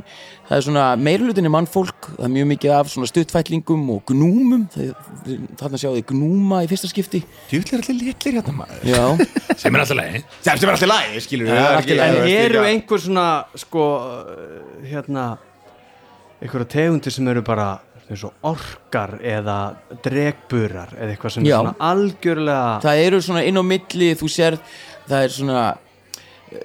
það er svona meirlutinni mannfólk það er mjög mikið af svona stuttfætlingum og gnúmum þarna sjáðu þið gnúma í fyrsta skipti Djúvill er allir litlir hérna maður já, Sem er alltaf leið Sem sem er allir læg, skilur Já, allt í En lagi. eru einhver svona sko uh, hérna einhverja tegundir sem eru bara eins og orkar eða dregburar eða eitthvað sem Já. er svona algjörlega það eru svona inn á milli þú sér, það er svona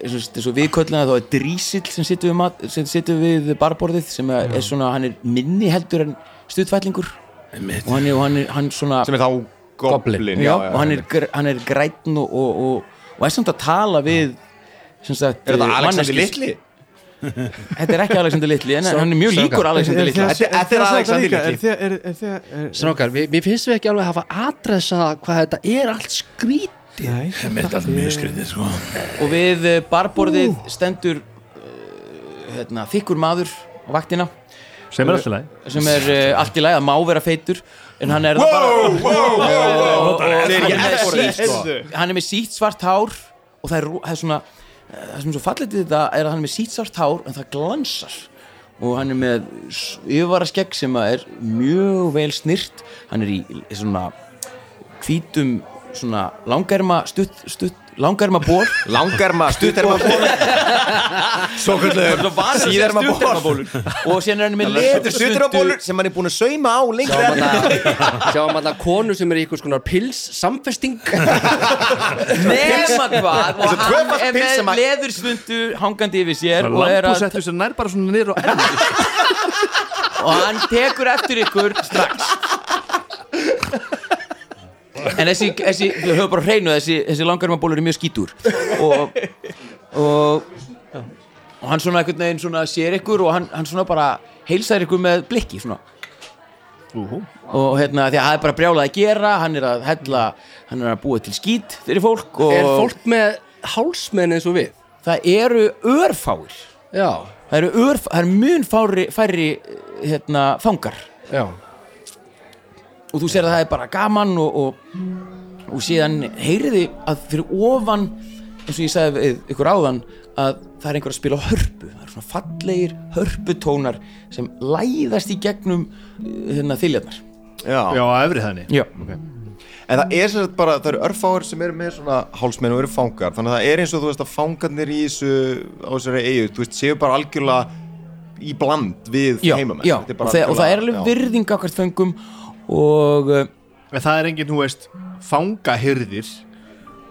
eins og við köllum það þá er drísill sem situr við, mat, sem situr við barborðið sem er, er svona, hann er minni heldur en stuttfætlingur og hann er, og hann er hann svona Sem er þá goblin já, og hann er, gr- hann er grætn og, og, og, og er samt að tala við sem sagt, Er þetta eh, Alexander manneskjur- Litli? Þetta er ekki Alexander Litli, en hann er mjög líkur Alexander Litli Þetta- þetta er Alexander Litli. Litli Strákar, við- mér finnst við ekki alveg að hafa adressað hvað þetta er allt skrít Sem er alltaf mjög skrítið sko og við eh, barborðið stendur uh, hérna, þykkur maður á vaktina Sem er allir læg sem er uh, allt í lagi að má vera feitur en hann er það bara Það er hann ekki er, með F-orðið, sítt, sko. hann er með sítt svart hár og það er, rú- það er svona eh, það sem er svo fallit í þetta er að hann er með sítt svart hár en það glansar og hann er með s- yfirvaraskegg sem að er mjög vel snirt hann er í í svona hvítum svona langarma stutt, stutt langarma ból Langarma, stutterma Svo kvöldum Síðarma ból og síðan er hann með Þetta er leturstundu stuttermabólur sem hann er búin að sauma á lengra sjáum alltaf sjáum alltaf konu um sem er í einhvers konar pils samfesting nema hvað og hann tvöfalt er pils sem með að- leðurstundu hangandi yfir sér og, er Lampu að, settu sem nær bara svona niður og og hann tekur eftir ykkur strax en þessi, þessi við höfum bara hreinu þessi, þessi langarmabólur er mjög skítur og, og og hann svona einhvern veginn svona sér ykkur og hann, hann svona bara heilsar ykkur með blikki svona og hérna því að það er bara brjálað að gera hann er að hella, hann er að búa til skít fyrir fólk og er fólk með hálsmenn eins og við það eru örfáir já, Það eru, örf, það eru mun fári, færri eh, hérna, fangar já og þú sér að það er bara gaman og, og, og síðan heyriði að fyrir ofan eins og ég sagði við ykkur áðan að það er einhver að spila á hörpu það eru svona fallegir hörputónar sem læðast í gegnum eh, hérna, þyljarnar Já, Já, á efri þenni Já. en það er sem sagt bara, það eru örfáir sem eru með svona hálsmenn og eru fangar þannig að það er eins og þú veist að fangarnir í þessu á þessari eigu, þú veist, séu bara algjörlega í bland við já, heimamenn já, Þetta er og, bara það, og það er alveg já. virðing akkvart föngum og uh, En það er enginn, þú veist, fangahyrðir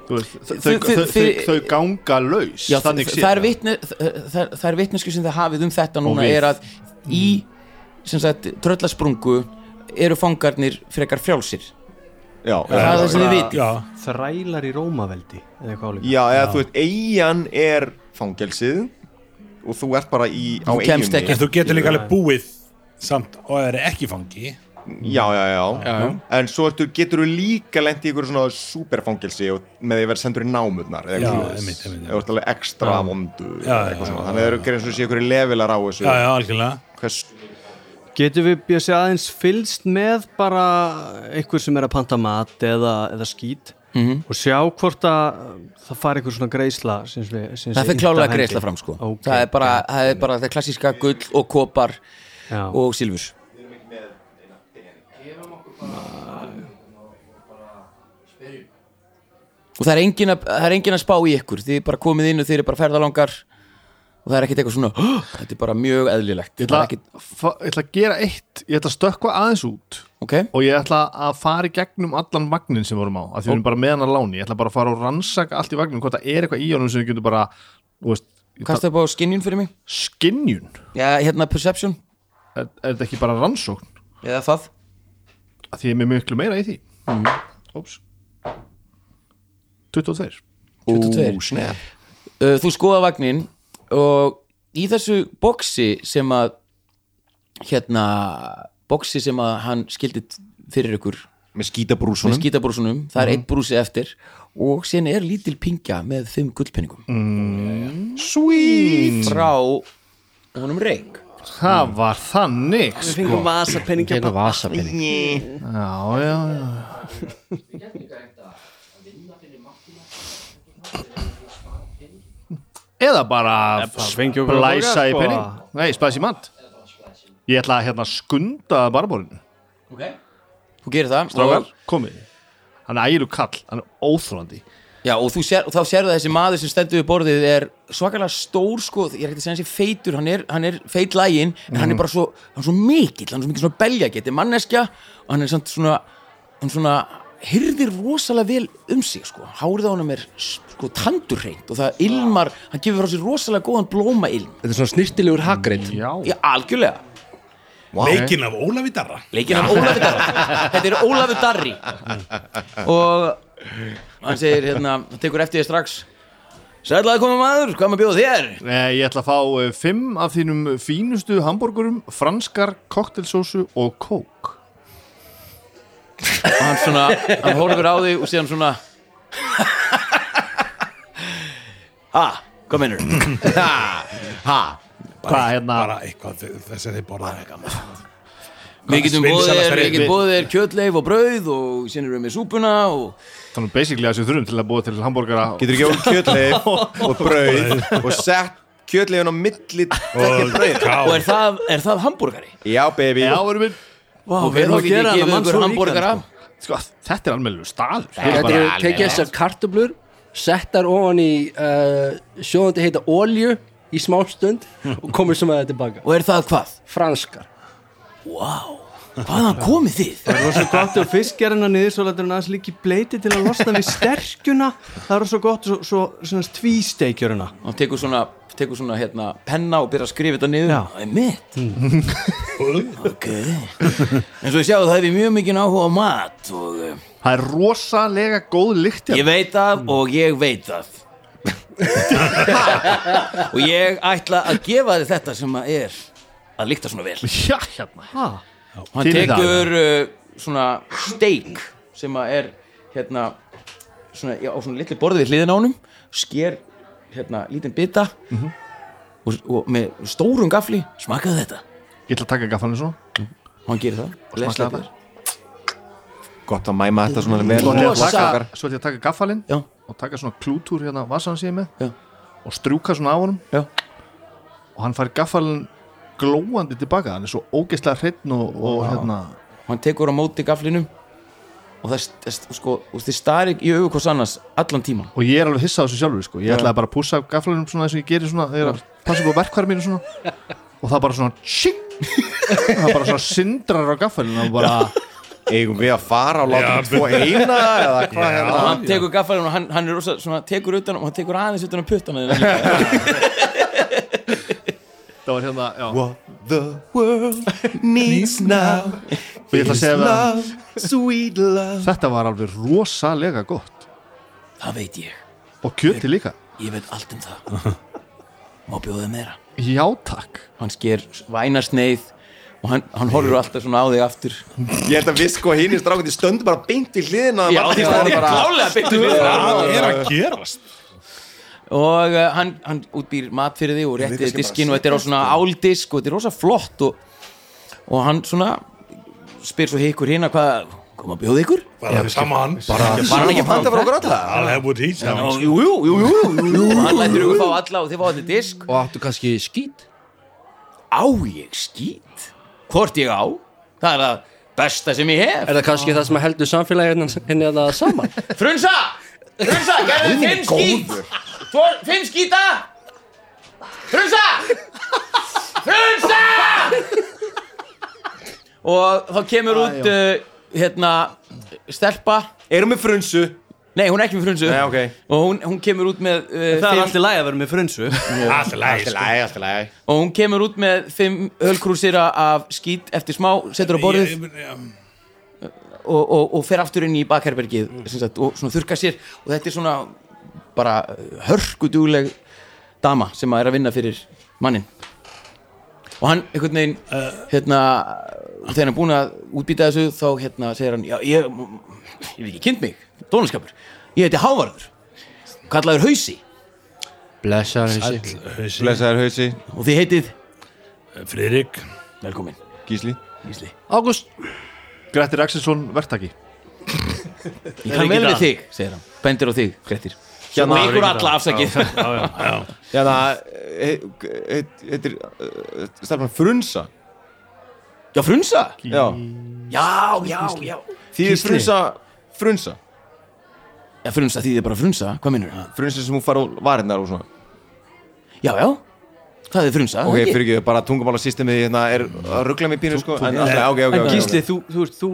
Þú veist, þau, þau, Þi- þi- þau, þi- þau ganga laus já, það, þannig séð. það, er vitni, það, það- það er vitnesku sem þið hafið um þetta núna við. Mm. er að í sem sagt, tröllasprungu eru fangarnir frekar frjálsir já, það er já, það sem þið vitið já, Þrælar í Rómaveldi eða eitthvað álíka já, eða þú veist, eigin er fangelsið og þú ert bara í, á Þú kemst eiginni. ekki. en þú getur líka alveg búið samt og það er ekki fangi já, já, já, en svo ertu, getur þú líka lent í ykkur svona superfangelsi og með því að vera sendur í námurnar Já, eða eitthvað svoleiðis. einmitt, einmitt, já. eða þú ert alveg ekstra vondu Já, eða já, eitthvað já, svona. þannig að það eru gerðin svo sé ykkur levelar á þessu já, já, algjörlega Hvers, Getum við býðið sér aðeins fylst með bara einhver sem er að panta mat eða, eða skýt Mhm. og sjá hvort að það fari einhver svona greiðsla sinns við, sinns það fyrir klálega greiðsla fram sko okay. það er bara, það er bara það klassíska gull og kopar Já. og silfurs og það er engin að, það er engin að spá í ykkur þið er bara komið inn og þið eru bara ferðalangar og það er ekkert eitthvað svona "Hå!" þetta er bara mjög eðlilegt Ég ætla, Það er ekkit, fa- ég ætla að gera eitt Ég ætla að stökkva aðeins út ok, og ég ætla að fara í gegnum allan vagnin sem við vorum á, að því við erum bara með hann að láni ég ætla bara að fara og rannsaka allt í vagnin hvort það er eitthvað í honum sem við getum bara þú veist, ég kastaðu bara á skinjun fyrir mig tala- skynjun er, já, hérna perception, er þetta ekki bara rannsókn eða það að því ég er með miklu meira í því Mhm. Óps 22 22 snap. uh, þú skoða vagnin og í þessu boksi sem að hérna boksi sem að hann skildi t- fyrir ykkur með með skítabrúsunum skítabrúsunum, það er eitt brúsi eftir og síðan er lítil pingja með fimm gullpenningum Mm. Sweet frá honum reik Það var þannig sko. Við fengum vasapenninga Getur vasapenning Já, já, já Eða bara svengja okkur á blæsa í borgar, sko. penning Nei, splæsa í mat Ég ætla að hérna skunda barborinu þú gerir það Strákar, og, komið Hann er ægilu kall, hann er óþrólandi já, og, þú sér, og þá sérðu að þessi maður sem stendur við borðið er svakalega stór sko, ég er ekkert að segja hans í feitur hann er, hann er feit lægin en hann er bara svo, hann er svo mikill hann er svo mikill svona beljagetti, manneskja og hann er samt svona, hann svona hyrðir rosalega vel um sig sko. hárið á honum er sko tandurreint og það ilmar, hann gefur frá sér rosalega góðan blóma ilm, Þetta er svona snirtilegur hagrið Já, já, algjörlega leikinn af Ólafi Darra leikinn af Ólafur Darri þetta er Ólafur Darri og hann segir hérna hann tekur eftir því strax sætlaði koma maður, hvað maður bjóð þér Nei, ég ætla að fá eh, fimm af þínum fínustu hambúrgurum, franskar, koktelsósu og kók og hann svona, hann horfir á því og síðan svona ha, hvað mennur Hvað, hérna, bara eitthvað þess að þið borða við getum Vinsælasta bóðið þér, við rétt getum við. bóðið þér kjötleif og brauð og síðan erum við með súpuna og þannig basically að þessu þurfum til að búa til hambúrgara getur ekki án kjötleif og brauð og sett kjötleifin á milli og brauð og er það, er það hambúrgari? já baby Já, erum við Vá, og við erum þá að getið gera gefið það mann ykkur svo hambúrgara ríkan sko, þetta er almennilegu staður Þetta bara- eru tekið þessar kartöblur settar ofan í uh, sjóðandi heita olju í smástund og komur sem að þetta tilbaka og er það hvað? franskar hvaðan komið þið? Það var svo gott og fisk er hennar niður svo lætur hann aðeins líki bleiti til að losna við sterkjuna Það var svo gott svo, svo, svona tvísteikjur hennar hann tekur svona, tekur svona hérna, penna og byrjar að skrifa þetta niður Já. það er mitt ok en svo ég sjáu það hefur mjög mikið áhuga á mat og eh, það er rosalega góð lykt ég hérna. veit það og ég veit það og ég ætla að gefa þið þetta sem að er að líkta svona vel já, hérna Ha? og hann Fyrir það. tekur uh, svona steik sem að er hérna svona, já, á svona litli borðið við hliðin á honum sker hérna lítinn bita og, og með stórum gafli smakaðu þetta ég ætla að taka gaffanum svona og hann gerir það og les smakkaðu leppir gott að mæma þetta svona vel svo ætla ég að Rosa. taka, svo ætla ég að taka gaffalinn já, og taka svona klútur hérna vassan sér með Já. og strjúka svona af honum já, og hann fær gaffalinn glóandi tilbaka hann er svo ógeðslega hreinn og, og hérna og hann tekur á móti gaflinum og það, það sko, og þið starir í augu hvers annars allan tíman og ég er alveg hissað þessu sjálfur sko. ég ætlaði bara að pússa gaffalinn svona þess að ég gerir svona þegar að passa upp á verkværi mínu svona og og það bara svona tshing, það bara svona sindrar á gaffalinn og bara eigum við að fara og láta hann tvo eina eða hvað og hérna hann tekur gaffalinn og hann, hann er rosa, svona, tekur utan um- og hann tekur aðeins utan að puttana þína líka. það var hérna, já What the world needs now og ég ætla að segja það, love, sweet love þetta var alveg rosalega gott það veit ég, og kjöti líka, ég veit allt um það má bjóða meira já takk hann sker vænarsneið og hann, hann horfir alltaf svona á þig aftur Ég held að við sko hinn í strákundi stöndum bara beint í hliðina Já, því það er klálega beint við það. Hvað er að gerast? og uh, hann, hann útbýr mat fyrir þig og rétti þig diskin og þetta er á svona áldisk og þetta er rosa flott og, og hann svona spyr svo hikkur hérna hvað, kom að bjóða ykkur? Bara saman Bara Var hann ekki að panta fyrir okkur alla I'll have what he said Jú, jú, jú, jú, jú. og hann lætur ykkur fá alla og þið fá þetta disk og áttu kannski skít á ég skýt hvort ég á það er það besta sem ég hef er það kannski það sem heldur samfélaginu henni að það hérna saman frunsa, frunsa, gerðu þið fimm skýt Tvo- fimm skýta frunsa frunsa og þá kemur út uh, hérna stelpa Erum við frunsu? Nei, hún er ekki með frunsu Nei, ok. Og hún, hún kemur út með uh, Það er fimm, alltaf læg að vera með frunsu Alltaf læg sko. Læg, alltaf læg Og hún kemur út með fimm ölkrúsira af skít Eftir smá, setur á borðið Ég- ég- og, og, og fer aftur inn í bakherbergið sem sagt, og svona þurka sér og þetta er svona bara hörkudugleg dama sem að er að vinna fyrir mannin og hann einhvern veginn hérna, þegar hann er búin að útbýta þessu þá hérna segir hann já, ég, ég hef ekki kynnt mig, dónaskapur ég heiti Hávarður, kallaður Hausi blessar þessi Hausi, Blesaður hausi, og þið heitið Friðrik velkomin, gísli Ísli Ágúst Grettir Axelsson, verktaki ég kann vel við þig, segir hann, bendir á þig, Grettir Hérna- og ykkur alla afsakið Hérna, heitir eh, Stelpan frunsa já, frunsa, Já, já, já, já því er frunsa Frunsa, Já, frunsa þýðir bara frunsa, hvað minnur það? frunsa sem hún fara úr varinnar og svona Já, já, það er frunsa Ok, ekki? fyrir ekki, bara tungumála systemið hérna er að ruggla mig pínu sko En alltaf, ok, ok, En ok Gísli, þú, þú, ert, þú,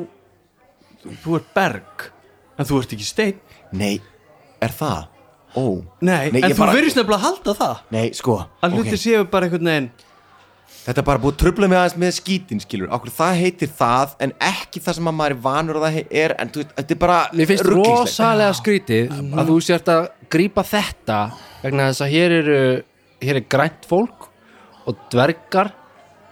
þú, þú ert berg En þú ert ekki stein Nei, er það? Ó, Nei, en Nei, ég þú bara- bara... verðist nefnilega að halda það nei, sko Að hluti séu bara einhvern veginn Þetta er bara búið að tröfla mig aðeins með skítin, skilur Akkur það heitir það, en ekki það sem að maður er vanur að það he- er En þú veist, þetta er bara Mér finnst ruglingslegt. rosalega skrítið að þú sért að grípa þetta vegna þess að hér eru hér er grænt fólk og dvergar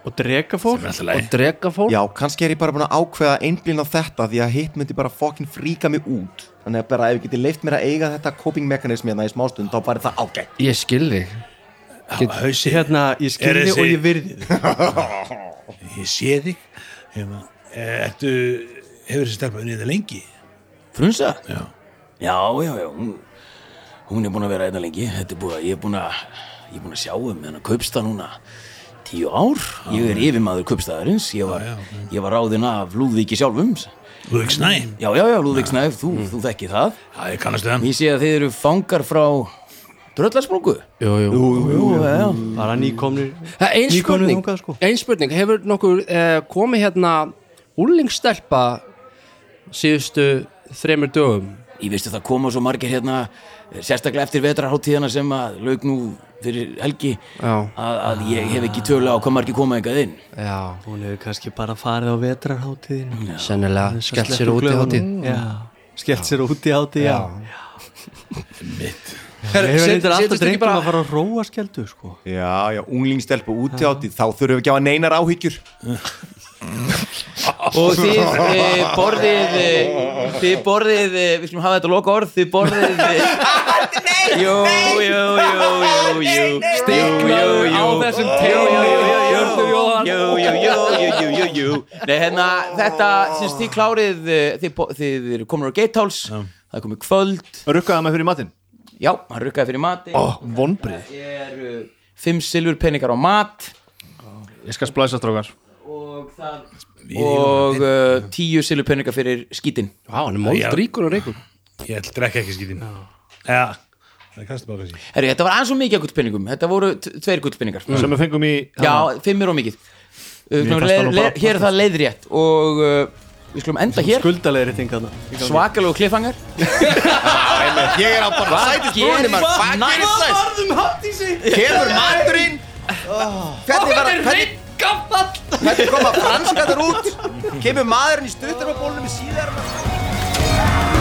Og drega fólk og dregafólk Já, kannski er ég bara búin að ákveða einblín á þetta Því að hitt myndi bara fokkin fríka mig út Þannig að bara ef ég geti leift mér að eiga þetta coping mekanismi hérna í smástund Þá bara er það ágætt Ég skil þig Hausi, Hérna, ég Er skilði þessi- og ég virði þig ég sé þig hérna, ertu, hefur þessi stelpa unnið þetta lengi Frunsa? Já. Já, já, já, hún, hún er búin að vera einna lengi Þetta er búin að, ég er búin að, ég er búin að sjá um hennar kaupsta núna tíu ár Ég er yfirmaður kaupstaðarins, ég var, ég var ráðin af Lúðvíki sjálfum Já, Lúðvík Snæ, já, já, Lúðvík Snæf, þú, þú þekkið það já ég kannast við hann Ég sé að þið eru fangar frá Dröllarsprungu Jú, jú Jú, já, já Bara nýkomnir Það er ein Nýkomnir spurning, þangað, sko. ein spurning hefur nokkur eh, komið hérna úlingstelpa síðustu þremur dögum Ég veistu það koma svo margir hérna sérstaklega eftir vetrarháttíðana sem að lauk nú fyrir helgi Já. að, að ég hef ekki tölu á hvað margir koma eitthvað inn Já, Hún hefur kannski bara farið á vetrarháttiðin sennilega skellt Mm, sér út í hátíð Já, skellt sér út í hátíð, já, Já. Ég hefur set- reyndir alltaf setjast ekki drengjum bara- að fara að róa skeldu, sko Já, já, unglingstelpa úti átti Þá þurfum við ekki að hafa neinar áhyggjur og þið e, borðið e, þið borðið, e, við skulum hafa þetta loka orð þið borðið e, jú, jú, jú, jú, jú stiklaður á þessum tegum jú, jú, jú, jú, jú, jú, jú Nei, hérna, þetta, sinns þið klárið e, þið, bo- þið eru komin á Gatehouse það er komið kvöld rukkaði maður fyrir matinn Já, hann rukkaði fyrir mati oh, vonbrið, er uh, fimm silfur peningar á mat ég skal splæsa strókar og það og uh, tíu silfur peningar fyrir skítin Vá, hann er mold ríkur og ríkur ég ætla að drekka ekki skýtin já, Það er kannski bara kannski. Herru, þetta var aðeins og mikið af gullpenningum Þetta voru t- tveir gullpenningar sem við fengum í Já, fimm er og mikið Uh, Mm. Mér fannst leir, það nú bara leir, Hér er það leiðrétt Og uh, við skulum enda hér Skuldalegri þing að Svakalegu kliffangar Ég er á bara sætið brúinni maður Hvað gerir sætt? Varðum hatt í sig Kemur maturinn Hvernig var að hvernig Hvernig koma franskatur út Kemur maðurinn í stuttarabólunum í síðar